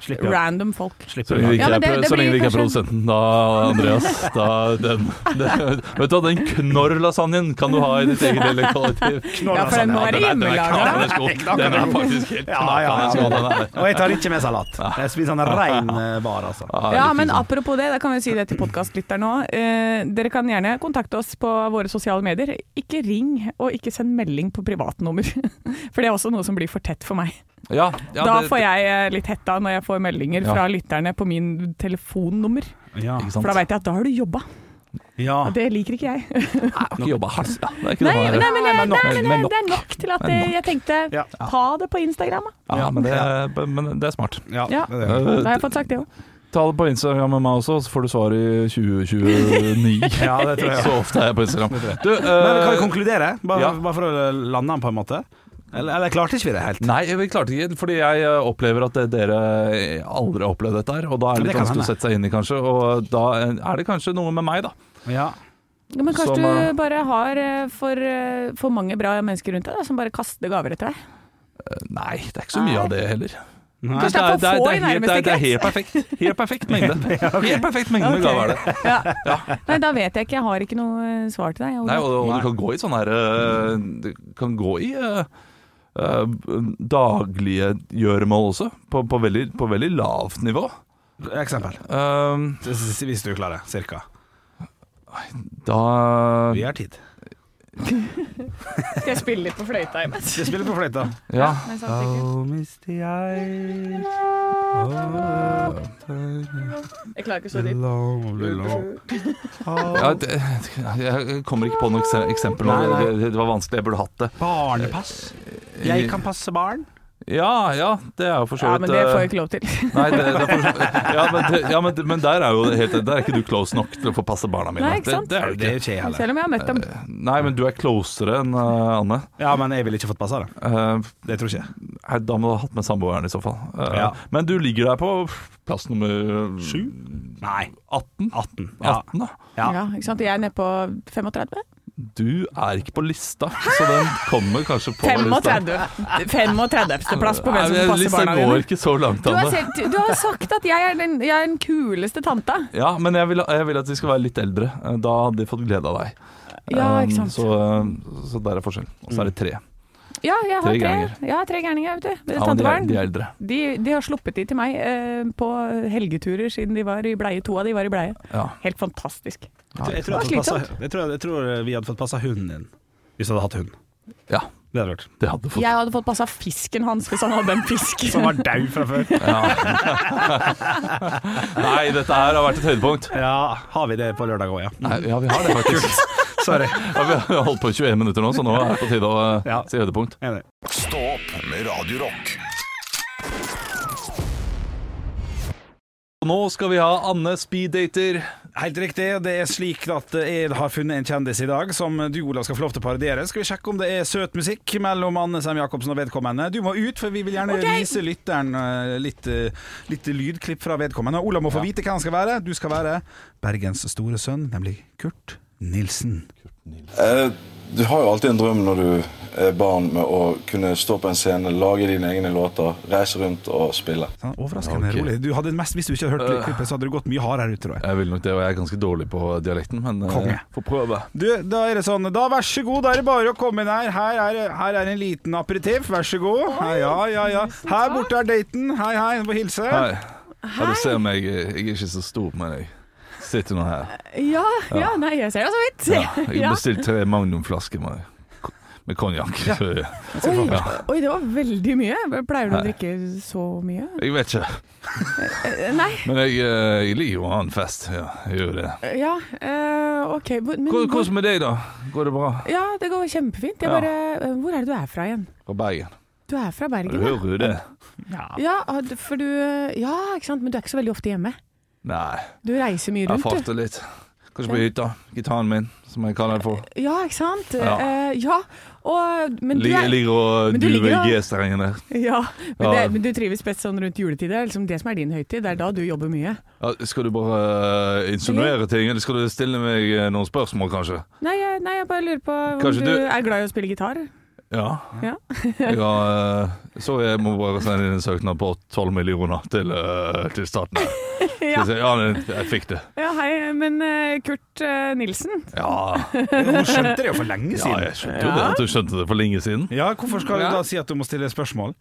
Speaker 3: Slipper jeg-
Speaker 5: random folk.
Speaker 4: Så
Speaker 3: slipper
Speaker 4: lenge
Speaker 3: jeg
Speaker 4: vi ikke,
Speaker 5: Ja,
Speaker 4: er,
Speaker 5: men det-
Speaker 4: pro-
Speaker 5: det
Speaker 4: så lenge
Speaker 5: blir
Speaker 4: vi ikke er
Speaker 5: kanskje-
Speaker 4: produsenten, da, Andreas. Da, den, den, vet du hva, den knorr-lasagnen kan du ha i ditt eget lille kollektiv.
Speaker 3: Knorr
Speaker 5: Ja, for den må
Speaker 3: lasagne.
Speaker 5: være
Speaker 4: Den er- den er
Speaker 5: hjemmelaga.
Speaker 4: knakende god. Den er faktisk helt
Speaker 3: Ja, ja, ja.
Speaker 4: knakende god, den er.
Speaker 3: Og jeg tar ikke med salat. Jeg spiser en rein eh, bar, altså.
Speaker 5: Ja,
Speaker 4: litt
Speaker 5: men
Speaker 4: sånn.
Speaker 5: apropos det, da kan vi si det til podkastlytterne òg. Eh, dere kan gjerne kontakte oss på våre sosiale medier. Ikke ring, og ikke send melding på privatnummer. <laughs> For det er også noe som blir for tett for meg.
Speaker 4: ja, ja,
Speaker 5: da
Speaker 4: det-
Speaker 5: får jeg eh, litt hetta når jeg får meldinger
Speaker 4: Ja.
Speaker 5: fra lytterne på min telefonnummer.
Speaker 3: Ja.
Speaker 4: ikke sant?
Speaker 5: Ah, For da veit jeg at da har du jobba.
Speaker 3: ja.
Speaker 5: Og det liker ikke jeg.
Speaker 4: Jeg har ikke jobba hardt. da. Det er ikke
Speaker 5: Nei,
Speaker 4: det man-
Speaker 5: nei, men, jeg,
Speaker 3: men nok.
Speaker 5: nei, men
Speaker 4: Men
Speaker 5: jeg,
Speaker 4: nok.
Speaker 5: det er nok til at eh,
Speaker 4: Men
Speaker 5: jeg, jeg tenkte
Speaker 3: Ja.
Speaker 5: ta det på Instagram. da.
Speaker 4: Ja, men det, er- men det er smart.
Speaker 3: Ja.
Speaker 5: Ja.
Speaker 3: det er det.
Speaker 5: Da
Speaker 4: Eh,
Speaker 5: har jeg fått sagt det òg.
Speaker 4: Ta det på Instagram med meg også, så får du svar i 2029.
Speaker 3: <laughs> Ja, det tror jeg.
Speaker 4: Så ofte er jeg på Instagram. Du, eh,
Speaker 3: Men vi kan jo konkludere, bare,
Speaker 4: Ja.
Speaker 3: bare for å lande den på en måte. Eller, eller klarte ikke vi det helt?
Speaker 4: Nei, vi klarte ikke, fordi jeg eh, opplever at eh, dere aldri har opplevd dette her. Og da er det
Speaker 3: Det
Speaker 4: litt
Speaker 3: kan
Speaker 4: vanskelig å
Speaker 3: hende.
Speaker 4: sette seg inn i, kanskje. Og da eh, er det kanskje noe med meg, da.
Speaker 3: Ja.
Speaker 5: Ja, men kanskje
Speaker 4: Som, eh,
Speaker 5: du bare har eh, for, eh, for mange bra mennesker rundt deg da, som bare kaster gaver etter deg.
Speaker 4: Nei, det er ikke så mye av det heller.
Speaker 3: Nei.
Speaker 5: Kanskje det er for få i
Speaker 4: helt-
Speaker 5: nærmeste
Speaker 4: det er helt perfekt. Helt perfekt mengde.
Speaker 3: <laughs>
Speaker 4: Helt perfekt mengde med
Speaker 5: Ok.
Speaker 4: gaver er det.
Speaker 5: Ja. Nei, da vet jeg ikke. Jeg har ikke noe eh, svar til deg. Ole.
Speaker 4: Nei, og, og
Speaker 3: Nei.
Speaker 4: du kan gå i sånne her eh, Du kan gå i eh, eh, daglige gjøremål også, på, på, veldig, på veldig lavt nivå.
Speaker 3: Eksempel.
Speaker 4: Um,
Speaker 3: S- Hvis du klarer det, cirka.
Speaker 4: da
Speaker 3: Vi har tid.
Speaker 5: Skal jeg spille litt på fløyta imens?
Speaker 3: Vi spiller på fløyta.
Speaker 4: Ja.
Speaker 5: Nei, sant, sikkert.
Speaker 3: misty eyes
Speaker 5: Jeg klarer ikke så dypt.
Speaker 4: ja det, jeg kommer ikke på noe ekse- eksempel nå.
Speaker 3: Nei, nei.
Speaker 4: Det, det var vanskelig. Jeg burde hatt det.
Speaker 3: Barnepass. Jeg kan passe barn.
Speaker 4: Ja, ja, det er jo for så
Speaker 5: Ja,
Speaker 4: vidt
Speaker 5: men det får
Speaker 4: eh,
Speaker 5: jeg ikke lov til.
Speaker 4: Nei, det, det er for, så- ja, men, det, ja, men, men der er jo det helt Der er ikke du close nok til å få passe barna mine.
Speaker 5: Nei, ikke sant?
Speaker 4: Det, det er du
Speaker 3: Det er
Speaker 4: ikke.
Speaker 3: jo ikke jeg heller.
Speaker 5: Selv om jeg har møtt dem.
Speaker 4: Eh, Nei, men du er closere enn eh, Anne.
Speaker 3: Ja, men jeg ville ikke fått passa det.
Speaker 4: Eh,
Speaker 3: Det tror ikke jeg.
Speaker 4: Nei, Da må du ha hatt med samboeren i så fall. Eh,
Speaker 3: Ja.
Speaker 4: Men du ligger der på plass nummer
Speaker 3: Nei.
Speaker 4: 18.
Speaker 3: 18. Ja.
Speaker 4: 18 da.
Speaker 3: Ja.
Speaker 5: Ja, ikke sant? Jeg er nede på 35.
Speaker 4: Du er ikke på lista, så den kommer kanskje på lista.
Speaker 5: 35. 35. plass på
Speaker 4: Nei,
Speaker 5: hvem som passer
Speaker 4: lista
Speaker 5: barna
Speaker 4: går
Speaker 5: dine.
Speaker 4: ikke så langt,
Speaker 5: Du har,
Speaker 4: Anne.
Speaker 5: selv, du har sagt at jeg er den, jeg er den kuleste tanta.
Speaker 4: Ja, men jeg vil, jeg vil at vi skal være litt eldre. Eh, Da hadde de fått glede av deg.
Speaker 5: Ja,
Speaker 4: Eh,
Speaker 5: ikke sant. Mm.
Speaker 4: Så, eh, så der er forskjellen. Og så er det tre.
Speaker 5: Ja, jeg har
Speaker 4: Tre
Speaker 5: tre,
Speaker 4: gærninger.
Speaker 5: jeg har tre gærninger, vet du.
Speaker 4: Ja, men de, er,
Speaker 5: Tantebarn.
Speaker 4: de er eldre.
Speaker 5: De, de har sluppet de til meg eh, på helgeturer siden de var i bleie. To av de var i bleie.
Speaker 4: Ja.
Speaker 5: Helt fantastisk.
Speaker 4: Ja,
Speaker 3: Jeg
Speaker 4: ikke
Speaker 3: tror,
Speaker 4: sant.
Speaker 3: jeg, hadde fått passet- jeg, tror, jeg tror vi hadde fått passa hunden din hvis du hadde hatt hund.
Speaker 4: ja,
Speaker 3: Det hadde vært.
Speaker 4: det hadde fått
Speaker 5: Jeg hadde fått passa fisken hans hvis han hadde en fisk.
Speaker 3: <laughs> Som var daud fra før.
Speaker 4: ja. <laughs> Nei, dette her har vært et høydepunkt.
Speaker 3: Ja, har vi det på lørdag òg, ja.
Speaker 4: Nei, ja, vi har det
Speaker 3: <laughs>
Speaker 4: faktisk.
Speaker 3: Sorry.
Speaker 4: Ja, vi har holdt på i 21 minutter nå, så nå er det på tide å eh,
Speaker 3: Ja.
Speaker 4: si høydepunkt.
Speaker 3: Enig.
Speaker 2: Stå opp med Radio Rock.
Speaker 4: Og Nå skal vi ha Anne speeddater.
Speaker 3: Helt riktig. Det er slik at jeg har funnet en kjendis i dag som du, Olav, skal få lov til å parodiere. Skal vi sjekke om det er søt musikk mellom Anne Sem Jacobsen og vedkommende? Du må ut, for vi vil gjerne vise lytteren eh, litt, eh, litt lydklipp fra vedkommende. Og Olav må få vite hva han skal være. Du skal være Bergens store sønn, nemlig Kurt Nilsen.
Speaker 1: Eh, Du har jo alltid en drøm når du er barn med å kunne stå på en scene, lage dine egne låter, reise rundt og spille.
Speaker 3: Sånn, overraskende
Speaker 4: Ok.
Speaker 3: rolig. Du hadde mest, hvis du ikke hadde hørt klippet, så hadde du gått mye hardere ut, tror jeg.
Speaker 4: Jeg vil nok det, og jeg er ganske dårlig på dialekten, men
Speaker 3: Konge.
Speaker 4: eh, får prøve.
Speaker 3: Du, da er det sånn Da, vær så god, da er det bare å komme inn her. Her er, her er en liten aperitiff, vær så god. Hei, ja, ja, ja. Her borte er daten. Hei, hei, du må hilse.
Speaker 4: Hei. Ja, du ser meg, eh, jeg er ikke så stor, men jeg sitter nå her.
Speaker 5: Ja, ja, nei, jeg ser deg så vidt.
Speaker 4: Ja,
Speaker 5: <laughs>
Speaker 4: jeg
Speaker 5: Ja.
Speaker 4: bestilte tre Magnum-flasker med, med konjakk. så Jeg
Speaker 5: Oi, oi, det var veldig mye. Pleier du å
Speaker 4: Nei.
Speaker 5: drikke så mye?
Speaker 4: jeg vet ikke,
Speaker 5: Eh, Nei,
Speaker 4: men jeg, eh, jeg liker jo å ha en fest. Ja, jeg gjør det.
Speaker 5: ja, eh, OK. Hvor- Men,
Speaker 4: Hvor-
Speaker 5: hvor-
Speaker 4: Hvordan med deg, da? Går det bra?
Speaker 5: ja, det går kjempefint. Jeg
Speaker 4: Ja.
Speaker 5: bare, eh, hvor er det du er fra igjen?
Speaker 4: Fra Bergen?
Speaker 5: Du er fra Bergen, ja?
Speaker 4: Hører du det?
Speaker 5: Ja, ah, du- for du Ja, ikke sant, men du er ikke så veldig ofte hjemme.
Speaker 4: Nei.
Speaker 5: Du reiser mye
Speaker 4: Jeg
Speaker 5: rundt, du.
Speaker 4: farter litt. Kanskje på hytta. Gitaren min, som jeg kaller det for.
Speaker 5: Ja, ikke sant?
Speaker 4: Ja.
Speaker 5: Eh, ja. Og, Eh, men du
Speaker 4: Ligger,
Speaker 5: er,
Speaker 4: ligger og
Speaker 5: men du
Speaker 4: duver i
Speaker 5: ligger og-
Speaker 4: G-strengen der.
Speaker 5: ja, men, det,
Speaker 4: Ja.
Speaker 5: men du trives best sånn rundt juletid. Det er liksom det som er din høytid. Det er da du jobber mye.
Speaker 4: Ja, skal du bare eh, insinuere ting, eller skal du stille meg eh, noen spørsmål, kanskje?
Speaker 5: Nei, jeg, nei, jeg bare lurer på om
Speaker 4: Kanskje
Speaker 5: du,
Speaker 4: du-
Speaker 5: er glad i å spille gitar?
Speaker 4: Ja. <laughs>
Speaker 5: Ja.
Speaker 4: Jeg har, eh, så jeg må bare sende inn en søknad på 12 millioner til, eh, til staten. her.
Speaker 5: <laughs> Ja,
Speaker 4: Skal jeg si, Ja, nei, jeg fikk det.
Speaker 5: ja hei, men eh, Kurt eh, Nilsen?
Speaker 4: Ja,
Speaker 3: <laughs> Hun skjønte det jo for lenge
Speaker 4: ja
Speaker 3: siden.
Speaker 4: jeg skjønte jo det. At du skjønte det for lenge siden.
Speaker 3: Ja, Hvorfor skal du
Speaker 4: Ja.
Speaker 3: da si at du må stille spørsmål?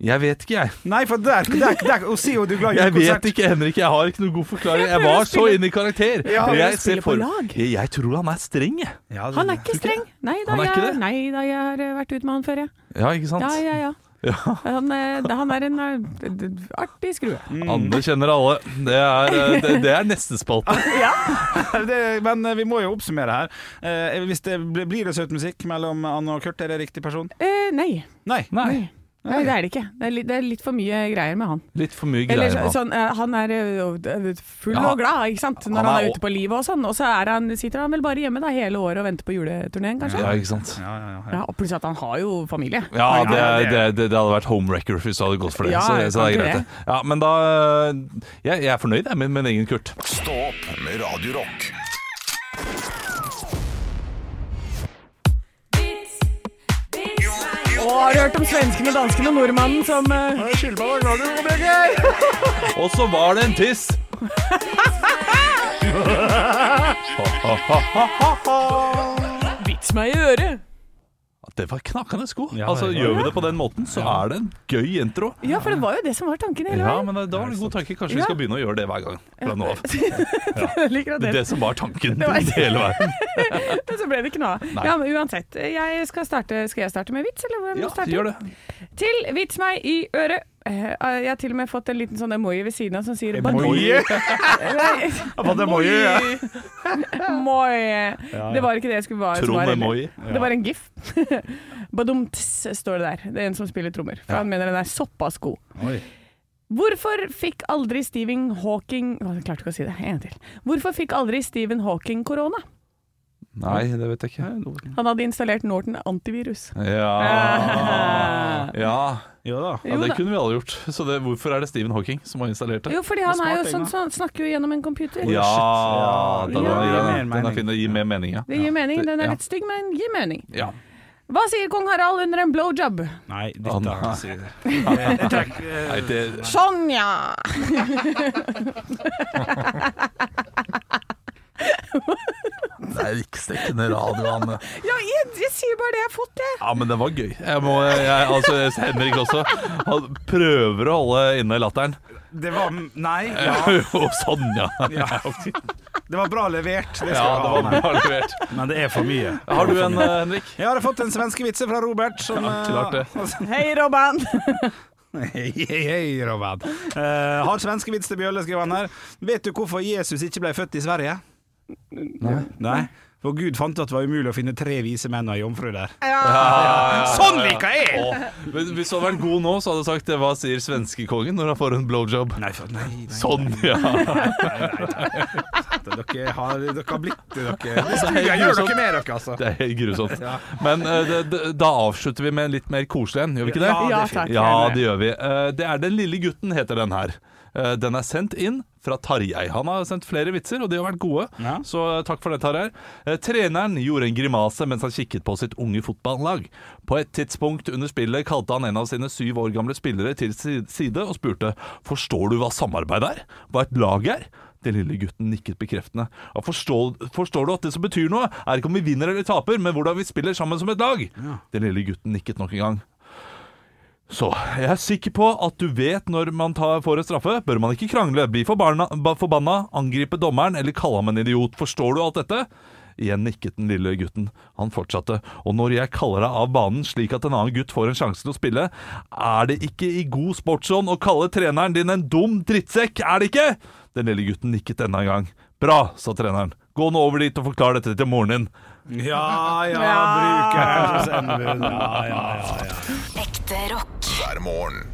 Speaker 4: Jeg vet ikke, jeg.
Speaker 3: Nei, for der, der, der Hun sier jo du er glad i
Speaker 4: Jeg vet
Speaker 3: julekonsert.
Speaker 4: ikke, Henrik. Jeg har ikke noen god forklaring. Jeg
Speaker 5: prøver å
Speaker 4: var så
Speaker 5: spille-
Speaker 4: inne i karakter.
Speaker 3: Ja,
Speaker 4: Men
Speaker 3: jeg
Speaker 4: jeg, ser
Speaker 5: spiller på
Speaker 4: for-
Speaker 5: lag.
Speaker 4: jeg, jeg tror han er streng, jeg.
Speaker 3: Ja, det-
Speaker 5: Han er ikke streng. Nei da,
Speaker 4: Han er ikke
Speaker 5: jeg,
Speaker 4: det?
Speaker 5: nei, da jeg har eh, vært ute med han før, jeg.
Speaker 4: Ja, ikke sant?
Speaker 5: Ja, ja, ja.
Speaker 4: Ja.
Speaker 5: <laughs> Han, eh, han er en eh, d- d- artig skrue.
Speaker 3: Mm.
Speaker 4: Anne kjenner alle. Det er, eh, det, det er neste spalte.
Speaker 3: <laughs> det, Men eh, vi må jo oppsummere her. Eh, hvis det blir, blir det søt musikk mellom Anne og Kurt, er det riktig person?
Speaker 5: Eh, <laughs> nei.
Speaker 3: Nei.
Speaker 4: Nei.
Speaker 5: Nei, det er det ikke. Det er, litt, det er litt for mye greier med han.
Speaker 4: Litt for mye
Speaker 5: Eller
Speaker 4: greier.
Speaker 5: så-
Speaker 4: med han.
Speaker 5: sånn, eh, han er eh, full
Speaker 4: Ja.
Speaker 5: og glad, ikke sant, når
Speaker 4: Han
Speaker 5: han
Speaker 4: er
Speaker 5: er,
Speaker 4: o-
Speaker 5: ute på livet og sånn. Og så er han, sitter han vel bare hjemme da, hele året og venter på juleturneen, kanskje.
Speaker 4: Ja, ikke sant.
Speaker 3: Ja, ja, ja.
Speaker 5: Ja, og plutselig at han har jo familie.
Speaker 4: Ja,
Speaker 3: Nei,
Speaker 4: det,
Speaker 3: nei,
Speaker 4: det,
Speaker 3: det-
Speaker 4: det, det hadde vært homewrecker hvis du hadde gått for det.
Speaker 5: Ja,
Speaker 4: så, så det er
Speaker 5: kan
Speaker 4: greit.
Speaker 5: ikke
Speaker 4: det. Ja, men da Jeg, jeg er fornøyd jeg, med min egen Kurt.
Speaker 2: Stå opp med Radio Rock.
Speaker 5: Og har du hørt om svensken og dansken og nordmannen som eh,
Speaker 4: Og så var det en tiss!
Speaker 5: Vits meg i øret!
Speaker 4: Det var knakende sko.
Speaker 3: Ja,
Speaker 4: altså,
Speaker 3: det var
Speaker 4: gjør
Speaker 3: det.
Speaker 4: vi det på den måten, så er det en gøy intro.
Speaker 5: Ja, for det var jo det som var tanken hele
Speaker 4: Ah. Ja,
Speaker 5: veien. <laughs>
Speaker 4: men eh, da var det en god tanke. Kanskje vi
Speaker 5: Ja.
Speaker 4: skal begynne å gjøre det hver gang fra nå av.
Speaker 5: Jeg liker at
Speaker 4: Det,
Speaker 5: det,
Speaker 4: er det som var tanken
Speaker 5: Det var-
Speaker 4: <laughs> hele veien.
Speaker 5: Men så ble det ikke noe av.
Speaker 4: Nei.
Speaker 5: Ja, men uansett. Jeg skal, starte, skal jeg starte med vits, eller hvem
Speaker 4: Ja,
Speaker 5: starter?
Speaker 4: gjør det.
Speaker 5: Til vits meg i øret. Eh, Jeg har til og med fått en liten sånn emoji ved siden av som sier <laughs>
Speaker 4: <laughs>
Speaker 5: Nei, Moi. Det var ikke det jeg skulle være. som var
Speaker 4: Trond
Speaker 5: heller.
Speaker 4: Emoji.
Speaker 5: Det var en gif. <laughs> Badumts står det der. Det er en som spiller trommer. For han mener den er såpass god.
Speaker 3: Oi.
Speaker 5: Hvorfor fikk aldri Stephen Hawking Å, Jeg klarte ikke å si det. En til. Hvorfor fikk aldri Stephen Hawking korona?
Speaker 4: Nei, det vet jeg ikke.
Speaker 5: Han hadde installert Norton antivirus.
Speaker 4: <laughs>
Speaker 3: Ah.
Speaker 4: Ja Ja,
Speaker 3: Jo da.
Speaker 4: ja
Speaker 5: Jo
Speaker 4: det
Speaker 5: da.
Speaker 4: kunne vi alle gjort. Så det, hvorfor er det Stephen Hawking som har installert det?
Speaker 5: <laughs> Jo, fordi han
Speaker 3: Det er
Speaker 5: er jo
Speaker 3: smart,
Speaker 5: sånn
Speaker 3: Inga.
Speaker 5: som snakker jo gjennom en computer.
Speaker 4: Ja,
Speaker 3: Ja,
Speaker 4: den,
Speaker 5: det
Speaker 4: er-
Speaker 3: mer
Speaker 4: den,
Speaker 5: gir
Speaker 4: er- den
Speaker 3: mening.
Speaker 4: er fin. Det gir mer mening, ja.
Speaker 5: Det gir mening. Den
Speaker 4: Ja.
Speaker 5: er litt stygg, men gir mening.
Speaker 4: ja.
Speaker 5: Hva sier kong Harald under en blowjob?
Speaker 3: Nei,
Speaker 4: Å,
Speaker 3: dette
Speaker 4: nei.
Speaker 3: sier det. Trekk, eh,
Speaker 4: Nei, det,
Speaker 5: Sonja!
Speaker 4: det er ikke stekkende radio, <laughs> Anne.
Speaker 5: Ja, jeg, jeg sier bare det jeg har fått,
Speaker 3: Ah,
Speaker 5: jeg.
Speaker 4: Ja, men det var gøy. Jeg må, jeg, altså, Henrik også. Han prøver å holde inne latteren. <laughs>
Speaker 3: Det var Nei, ja.
Speaker 4: Og sånn, ja.
Speaker 3: ja. Det var bra levert. Det skal
Speaker 4: Ja,
Speaker 3: du
Speaker 4: det
Speaker 3: ha
Speaker 4: var
Speaker 3: med.
Speaker 4: bra levert.
Speaker 3: Men det er for mye.
Speaker 4: Har du en, eh, Henrik?
Speaker 3: Jeg har fått en svenske vitse fra Robert. Som,
Speaker 4: Ja, klart det.
Speaker 3: eh,
Speaker 5: Hei, Robban.
Speaker 3: <laughs> hei, hei, hei, Robert. Eh, har svenske vits til Bjølle, skriver han her. Vet du hvorfor Jesus ikke ble født i Sverige? Nei. For Gud fant ut at det var umulig å finne tre vise menn og ei jomfru der. Sånn liker jeg!
Speaker 4: Å, men hvis du hadde vært god nå, så hadde du sagt hva sier svenskekongen når han får en blowjob?
Speaker 3: Nei, for, nei, nei,
Speaker 4: Sånn, ja.
Speaker 3: Dere har, dere har blitt dere. Det
Speaker 4: helt
Speaker 3: studier gjør
Speaker 4: grusomt.
Speaker 3: dere med dere, altså.
Speaker 4: Det er helt
Speaker 3: <laughs>
Speaker 4: grusomt. Men eh, det, det, da avslutter vi med en litt mer koselig en, gjør vi ikke det?
Speaker 3: Ja,
Speaker 5: Ja,
Speaker 3: det er
Speaker 5: takk.
Speaker 3: fint.
Speaker 4: Ja, det gjør vi. Eh, Det er Den lille gutten, heter den her. Eh, Den er sendt inn fra Tarjei. Han har sendt flere vitser, og de har vært gode.
Speaker 3: Ja.
Speaker 4: Så eh, takk for det, Tarjei. Eh, Treneren gjorde en grimase mens han kikket på sitt unge fotballag. På et tidspunkt under spillet kalte han en av sine syv år gamle spillere til si- side og spurte Forstår du hva samarbeid er? Hva et lag er? Den lille gutten nikket bekreftende. Ja, forstår, forstår du at det som betyr noe, er ikke om vi vinner eller taper, men hvordan vi spiller sammen som et lag? Den lille gutten nikket nok en gang. Så jeg er sikker på at du vet når man tar, får en straffe. Bør man ikke krangle, bli forbarna, ba, forbanna, angripe dommeren eller kalle ham en idiot. Forstår du alt dette? Igjen nikket den lille gutten. Han fortsatte. Og når jeg kaller deg av banen slik at en annen gutt får en sjanse til å spille, er det ikke i god sportsånd å kalle treneren din en dum drittsekk, er det ikke? Den lille gutten nikket enda en gang. Bra, sa treneren. Gå nå over dit og forklar dette til moren din.
Speaker 3: Ja, ja, bruker sendebud. Ja, ja, ja, ja.
Speaker 6: Ekte rock.
Speaker 2: hver morgen.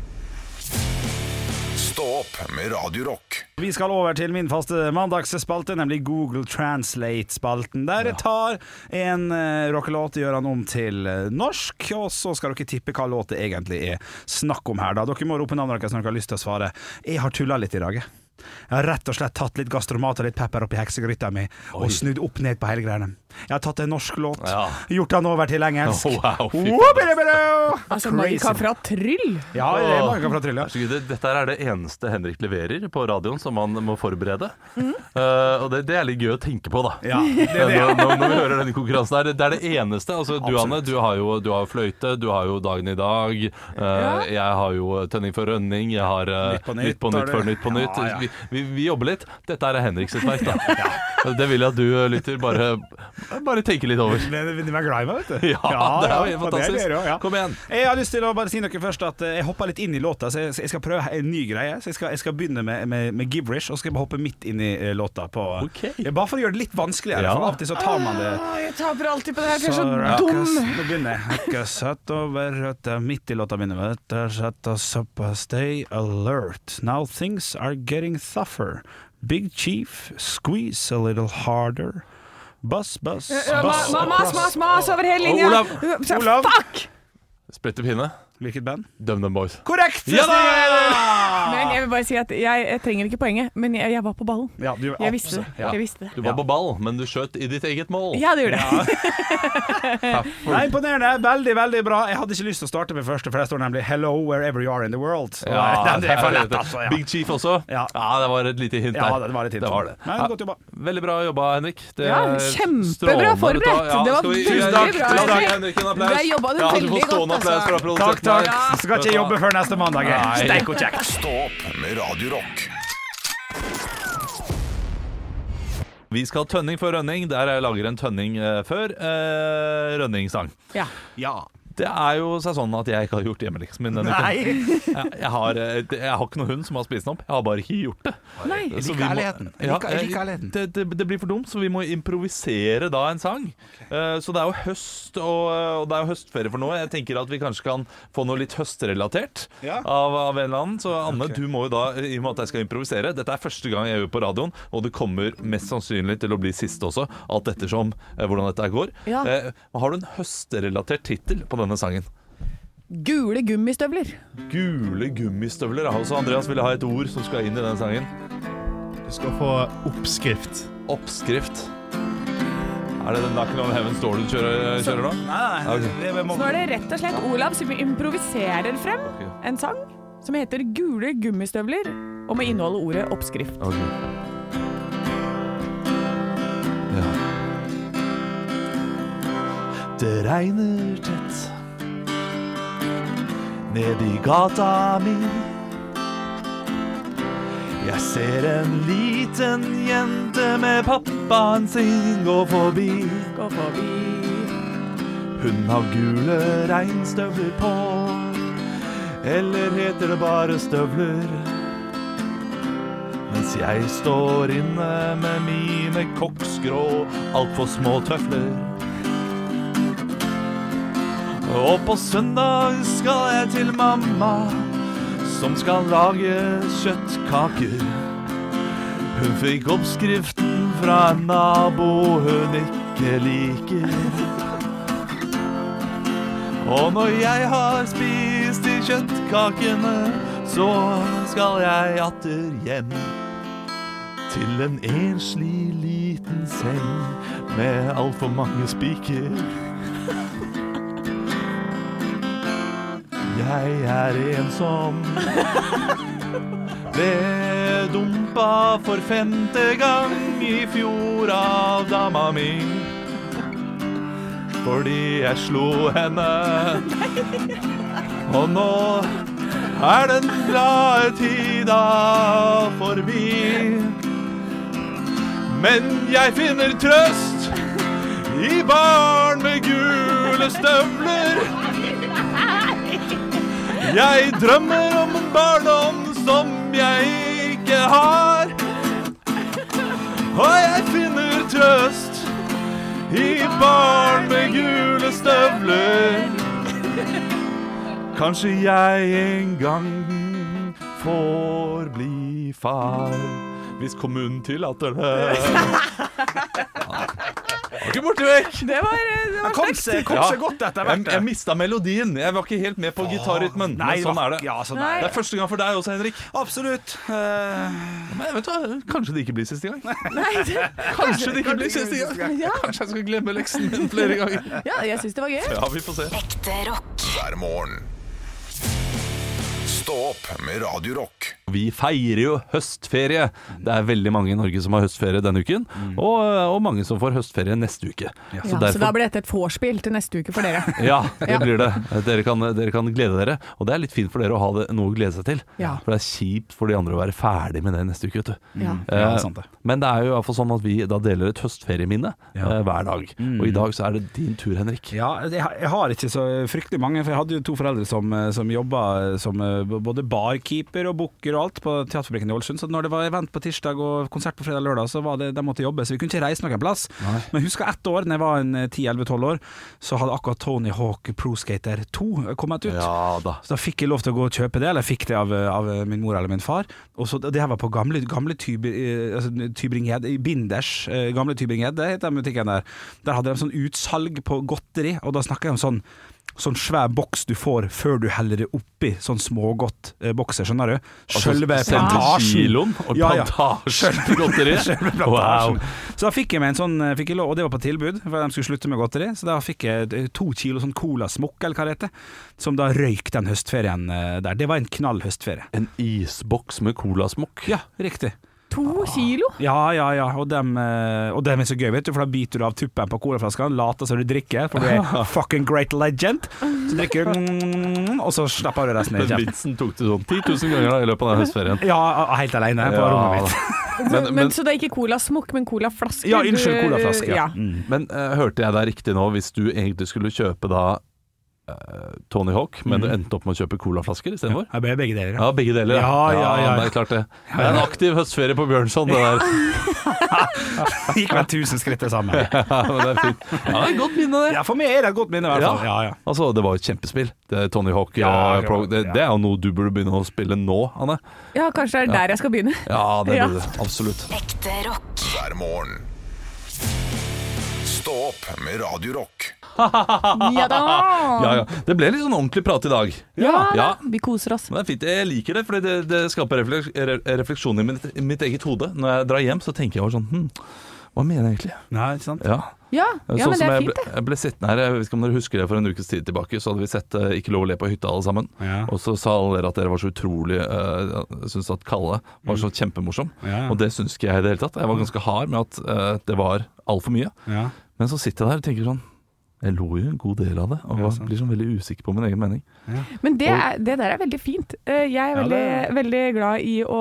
Speaker 2: Stå opp med Radio Rock.
Speaker 3: Vi skal over til min faste mandagsspalte, nemlig Google Translate-spalten. Der jeg tar en eh, rockelåt og gjør den om til eh, norsk, og så skal dere tippe hva låt det egentlig er snakk om her. da. Dere må rope navnet deres når dere har lyst til å svare. Jeg har tulla litt i dag. jeg. Jeg har rett og slett tatt litt gastromat og litt pepper oppi heksegryta mi og snudd opp ned på hele greiene. Jeg har tatt en norsk låt,
Speaker 4: Ja.
Speaker 3: gjort den over til engelsk.
Speaker 4: <laughs> Wow, fy faen.
Speaker 3: Whoopidibidoo!
Speaker 5: Altså, Monica fra Tryll.
Speaker 3: Ja, det er mange fra Tryll, ja.
Speaker 4: Så Gud, det- Dette her er det eneste Henrik leverer på radioen som han må forberede. Eh, og det, det er litt gøy å tenke på, da.
Speaker 3: Mhm. Ja, det er
Speaker 4: <laughs>
Speaker 3: det.
Speaker 4: Når, når- når vi hører denne konkurransen her, det er det eneste. Altså, du Anne, du har jo du har fløyte, du har jo Dagen i dag, eh, jeg har jo Tønning for rønning, jeg har eh,
Speaker 3: Nytt på nytt,
Speaker 4: Nytt på
Speaker 3: har du.
Speaker 4: nytt før Nytt på nytt.
Speaker 3: Ja, ja,
Speaker 4: vi, vi, vi jobber litt. Dette er Henriks sitt verk,
Speaker 3: <laughs>
Speaker 4: da. Det vil jeg at du eh, lytter, bare, bare tenker litt
Speaker 3: <laughs>
Speaker 4: over.
Speaker 3: Men de er glad i meg, vet du.
Speaker 4: <laughs> Ja, det er jo helt
Speaker 3: og
Speaker 4: fantastisk.
Speaker 3: dere også, ja. Eh,
Speaker 4: Kom igjen.
Speaker 3: Jeg har lyst til å bare si noe først at eh, jeg hoppa litt inn i låta, så jeg, så jeg skal prøve en ny greie. Så jeg skal, jeg skal begynne med, med, med gibberish, og så skal jeg bare hoppe midt inn i eh, låta. På,
Speaker 4: Ok.
Speaker 3: Ja, bare for å gjøre det litt vanskeligere,
Speaker 4: Ja.
Speaker 3: for av og til så tar man det
Speaker 5: Å, jeg taper alltid på det her, for jeg
Speaker 3: rakka
Speaker 5: Ah, er så dum.
Speaker 3: s- Nå begynner jeg. Hakka satt over røtta midt i låta mine. Røtta satt og soppa, stay alert. Now things are getting tougher. Big chief, squeeze a little harder. Buzz, buzz,
Speaker 5: Ja, Eh, ma-
Speaker 3: buzz
Speaker 5: ma- Mas, mas, mas over hele
Speaker 4: Og
Speaker 5: linja.
Speaker 4: Olav.
Speaker 5: Så-
Speaker 3: Olav.
Speaker 5: Fuck!
Speaker 4: Splitter pinne.
Speaker 3: Hvilket band?
Speaker 4: Dum Dum Boys.
Speaker 3: Korrekt!
Speaker 4: Ja da!
Speaker 5: Men jeg vil bare si at jeg, jeg trenger ikke poenget, men jeg, jeg var på ballen.
Speaker 3: Ja, du,
Speaker 5: Jeg visste det.
Speaker 4: Ja.
Speaker 5: Jeg visste
Speaker 4: Du
Speaker 5: det.
Speaker 4: var på ball, men du skjøt i ditt eget mål.
Speaker 5: Ja, det gjorde jeg.
Speaker 3: Nei, imponerende. Veldig, veldig bra. Jeg hadde ikke lyst til å starte med første, for der står nemlig 'Hello wherever you are in the world'. Så
Speaker 4: Ja,
Speaker 3: <laughs> den er for lett,
Speaker 4: det.
Speaker 3: altså. Ja.
Speaker 4: Big Chief også.
Speaker 3: Ja.
Speaker 4: det var et lite hint
Speaker 3: Ja,
Speaker 4: der.
Speaker 3: det var litt hint.
Speaker 4: Det var det.
Speaker 3: Men
Speaker 4: Ja,
Speaker 3: godt jobba.
Speaker 4: Veldig bra jobba, Henrik. Det
Speaker 5: Ja,
Speaker 4: er
Speaker 5: kjempebra
Speaker 4: strålende
Speaker 5: forberedt.
Speaker 4: å ta-
Speaker 5: Det var
Speaker 4: skal vi-
Speaker 5: veldig
Speaker 4: Tusen
Speaker 5: bra,
Speaker 4: takk. La oss gi
Speaker 5: Henrik.
Speaker 4: Henrik en applaus.
Speaker 5: Du har jobbet det
Speaker 4: ja,
Speaker 5: veldig
Speaker 4: Du får
Speaker 5: godt,
Speaker 4: stående applaus
Speaker 5: altså.
Speaker 4: fra produsenten
Speaker 3: Takk, takk.
Speaker 4: her.
Speaker 3: Skal ikke jobbe før neste mandag.
Speaker 4: Nei.
Speaker 3: Steik og kjekt.
Speaker 2: Stå opp med Radio Rock.
Speaker 4: Vi skal ha tønning for rønning, der jeg lager en tønning eh, før eh, rønningssang.
Speaker 5: <laughs> Ja.
Speaker 3: Ja.
Speaker 4: Det er jo seg sånn at jeg ikke har gjort hjemmeleksen min denne <laughs> uken.
Speaker 3: Nei.
Speaker 4: Jeg, jeg, har, eh, jeg har ikke noen hund som har spist den opp, jeg har bare ikke gjort det.
Speaker 5: Nei.
Speaker 4: Så
Speaker 3: liker
Speaker 4: vi må-
Speaker 3: ærligheten. Jeg
Speaker 4: Ja,
Speaker 3: liker- jeg liker ærligheten.
Speaker 4: Det, det, det blir for dumt, så vi må improvisere da en sang. Eh, Så det er jo høst, og, og det er jo høstferie for nå. Jeg tenker at vi kanskje kan få noe litt høstrelatert
Speaker 3: Ja.
Speaker 4: av, av en eller annen. Så Anne,
Speaker 3: Ok.
Speaker 4: du må jo da, i og med at jeg skal improvisere Dette er første gang jeg gjør på radioen, og det kommer mest sannsynlig til å bli siste også, alt ettersom eh, hvordan dette her går.
Speaker 5: Ja.
Speaker 4: Eh, Har du en høstrelatert tittel på denne sangen?
Speaker 5: Gule gummistøvler.
Speaker 4: Gule gummistøvler. ja. Også Andreas ville ha et ord som skal inn i den sangen.
Speaker 6: Du skal få oppskrift.
Speaker 4: Oppskrift. Er det den Knockin' on Heaven Store du kjører, kjører nå?
Speaker 3: Nei, nei, det, det må
Speaker 5: Så nå er det rett og slett Olav som improviserer frem en sang som heter 'Gule gummistøvler' og må inneholde ordet 'oppskrift'.
Speaker 4: Ja. Det regner tett ned i gata mi. Jeg ser en liten jente med pappaen sin gå forbi.
Speaker 5: Gå forbi.
Speaker 4: Hun har gule regnstøvler på Eller heter det bare støvler Mens jeg står inne med mine koksgrå Altfor små tøfler Og på søndag skal jeg til mamma Som skal lage kjøttkaker Hun fikk oppskriften fra en nabo hun ikke liker og når jeg har spist de kjøttkakene, så skal jeg atter hjem. Til en enslig liten seng med altfor mange spiker. Jeg er ensom. Ble dumpa for femte gang i fjor av dama mi. Fordi jeg slo henne Og nå er den glade tida forbi Men jeg finner trøst I barn med gule støvler Jeg drømmer om en barndom som jeg ikke har Og jeg finner trøst i barn med gule støvler. Kanskje jeg en gang får bli far. Hvis kommunen tillater det. Var ikke borte vekk!
Speaker 5: Det var, det var
Speaker 3: Kom seg kom seg
Speaker 4: Ja.
Speaker 3: godt etter
Speaker 4: Jeg,
Speaker 3: hvert.
Speaker 4: jeg mista melodien. Jeg var ikke helt med på gitarrytmen.
Speaker 3: Nei,
Speaker 4: Men sånn er det.
Speaker 3: Ja, sånn
Speaker 5: Nei.
Speaker 4: Det
Speaker 3: er det.
Speaker 4: er første gang for deg også, Henrik.
Speaker 3: Absolutt. Eh,
Speaker 4: Men vet du, hva? kanskje det ikke blir siste gang.
Speaker 5: Nei, det,
Speaker 4: <laughs> Kanskje det ikke blir siste gang.
Speaker 5: ja,
Speaker 4: <laughs> Kanskje jeg skal glemme leksen min flere ganger.
Speaker 5: <laughs> ja, jeg syns det var gøy.
Speaker 4: Ja, vi får se.
Speaker 7: Ekte rock.
Speaker 2: hver morgen. Stå opp med Radio Rock.
Speaker 4: Vi feirer jo høstferie. Det er veldig mange i Norge som har høstferie denne uken, og, eh, og mange som får høstferie neste uke.
Speaker 5: Ja, så da blir dette et vorspiel til neste uke for dere.
Speaker 4: <laughs> Ja, det
Speaker 5: Ja.
Speaker 4: blir det. Dere kan, dere kan glede dere. Og det er litt fint for dere å ha det, noe å glede seg til.
Speaker 5: Ja.
Speaker 4: For det er kjipt for de andre å være ferdig med det neste uke, vet du.
Speaker 5: Ja.
Speaker 3: Ja,
Speaker 4: Eh,
Speaker 3: sant det.
Speaker 4: Men det er jo i hvert fall sånn at vi da deler et høstferieminne
Speaker 3: Ja.
Speaker 4: eh, hver dag. Og i dag så er det din tur, Henrik.
Speaker 3: Ja, jeg, har- jeg har ikke så fryktelig mange, for jeg hadde jo to foreldre som, eh, som jobba som eh, b- både barkeeper og booker og alt på Teaterfabrikken i Ålesund. Så når det var event på tirsdag og konsert på fredag og lørdag, så var det, de måtte jobbe, så vi kunne ikke reise noen plass. Men jeg husker ett år, da jeg var en, eh, 10-11-12 år, så hadde akkurat Tony Hawk Pro Skater 2 kommet ut.
Speaker 4: Ja da.
Speaker 3: Så da fikk jeg lov til å gå og kjøpe det, eller jeg fikk det av, av min mor eller min far. Og så, det her var på gamle, gamle Tyber, eh, altså, Tybring-Gjedde, i Binders. eh, Gamle Tybring-Gjedde het den butikken der. Der hadde de sånn utsalg på godteri, og da snakker jeg om sånn Sånn svær boks du får før du heller det oppi sånn smågodt eh, bokser, skjønner du? Sjølve
Speaker 4: Altså, sendte
Speaker 3: plantasjen.
Speaker 4: Kiloen og
Speaker 3: Ja, ja.
Speaker 4: plantasjen til
Speaker 3: <laughs>
Speaker 4: godteri.
Speaker 3: Selve plantasjen.
Speaker 4: wow.
Speaker 3: Så da fikk jeg meg en sånn, eh, fikk jeg lov, og det var på tilbud, for de skulle slutte med godteri. Så da fikk jeg eh, to kilo sånn colasmokk, eller hva det heter, som da røyk den høstferien eh, der. Det var en knall høstferie.
Speaker 4: En isboks med colasmokk.
Speaker 3: Ja, riktig.
Speaker 5: To kilo?
Speaker 3: Ja, ja, ja. Og dem, eh, og dem er så gøy, vet du, for da biter du av tuppen på colaflaska, later som du drikker, for du er fucking great legend. Så drikker du, mm, og så slapper du resten i
Speaker 4: Den <laughs>
Speaker 3: kjeften.
Speaker 4: vitsen tok du sånn 10 000 ganger da, i løpet av den høstferien.
Speaker 3: Ja, helt alene på
Speaker 4: Ja,
Speaker 3: rommet mitt.
Speaker 5: Men,
Speaker 4: men-
Speaker 5: så det er ikke colasmokk, men colaflasker?
Speaker 3: Ja, unnskyld,
Speaker 5: Du-
Speaker 3: colaflaske. Ja.
Speaker 5: Ja.
Speaker 3: Mm.
Speaker 4: Men eh, hørte jeg deg riktig nå, hvis du egentlig skulle kjøpe da eh, Tony Hawk, men
Speaker 3: Mm.
Speaker 4: du endte opp med å kjøpe colaflasker istedenfor?
Speaker 3: Jeg ber begge
Speaker 4: <laughs>
Speaker 3: deler.
Speaker 4: Ja, begge deler.
Speaker 3: Ja, ja, ja.
Speaker 4: Det er klart det. Det er en aktiv høstferie på Bjørnson, det der.
Speaker 3: <laughs> Gikk vel tusen skritt det samme.
Speaker 4: Ja, men det er fint. Ja, det er et godt minne, det.
Speaker 3: Ja, for meg er det et godt minne, i hvert fall. Ja, ja.
Speaker 4: Altså, det var jo et kjempespill. Det er Tony Hawk
Speaker 3: Ja,
Speaker 4: eh,
Speaker 3: ja,
Speaker 4: Pro. Det,
Speaker 3: ja.
Speaker 4: det er jo noe du burde begynne å spille nå, Anne.
Speaker 5: ja, kanskje det er der jeg
Speaker 4: <laughs>
Speaker 5: skal begynne.
Speaker 4: Ja, det
Speaker 5: Ja.
Speaker 4: burde du. Absolutt.
Speaker 7: Ekte rock.
Speaker 2: hver morgen. Stå opp med Radio Rock.
Speaker 5: Ja da!
Speaker 4: Ja, ja. Det ble litt sånn ordentlig prat i dag.
Speaker 5: Ja,
Speaker 4: ja.
Speaker 5: da. Vi koser oss.
Speaker 4: Men det er fint. Jeg liker det, for det, det skaper refleks, re- refleksjoner i mitt, i mitt eget hode. Når jeg drar hjem, så tenker jeg over sånn hm, Hva mener jeg egentlig?
Speaker 3: Nei, ikke sant?
Speaker 4: Ja, sånn
Speaker 5: Ja, ja men det er
Speaker 4: jeg,
Speaker 5: fint,
Speaker 4: ble,
Speaker 5: det.
Speaker 4: jeg ble sittende her, jeg vet ikke om dere husker det for en ukes tid tilbake, så hadde vi sett eh, Ikke lov å le på hytta alle sammen.
Speaker 3: Ja.
Speaker 4: Og så sa alle dere at dere var så utrolig uh, Syntes at Kalle var
Speaker 5: Mm.
Speaker 4: så kjempemorsom.
Speaker 3: Ja.
Speaker 4: Og det syns ikke jeg i det hele tatt. Jeg var ganske hard med at eh, det var altfor mye.
Speaker 3: Ja.
Speaker 4: Men så sitter jeg der og tenker sånn Jeg lo jo en god del av det, og blir sånn veldig usikker på min egen mening.
Speaker 5: Men det, er, det der er veldig fint. Eh, Jeg er
Speaker 3: Ja,
Speaker 5: veldig,
Speaker 3: det
Speaker 5: veldig glad i å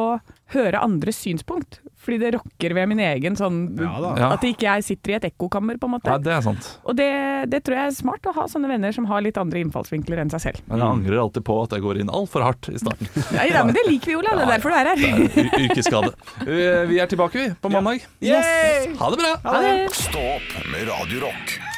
Speaker 5: høre andres synspunkt, fordi det rokker ved min egen sånn
Speaker 3: Ja da.
Speaker 4: Ja.
Speaker 5: At ikke jeg sitter i et ekkokammer, på en måte.
Speaker 4: Ja, det er sant.
Speaker 5: Og det, det tror jeg er smart, å ha sånne venner som har litt andre innfallsvinkler enn seg selv.
Speaker 4: Men jeg angrer alltid på at jeg går inn altfor hardt i starten.
Speaker 5: Nei da, men det liker vi, Ola. Det er derfor du er her.
Speaker 4: Det er u- Yrkesskade. <laughs> Eh, Vi er tilbake, vi, på mandag.
Speaker 5: Yes.
Speaker 4: Ha det bra!
Speaker 5: Ha det.
Speaker 2: Stå opp med Radio Rock.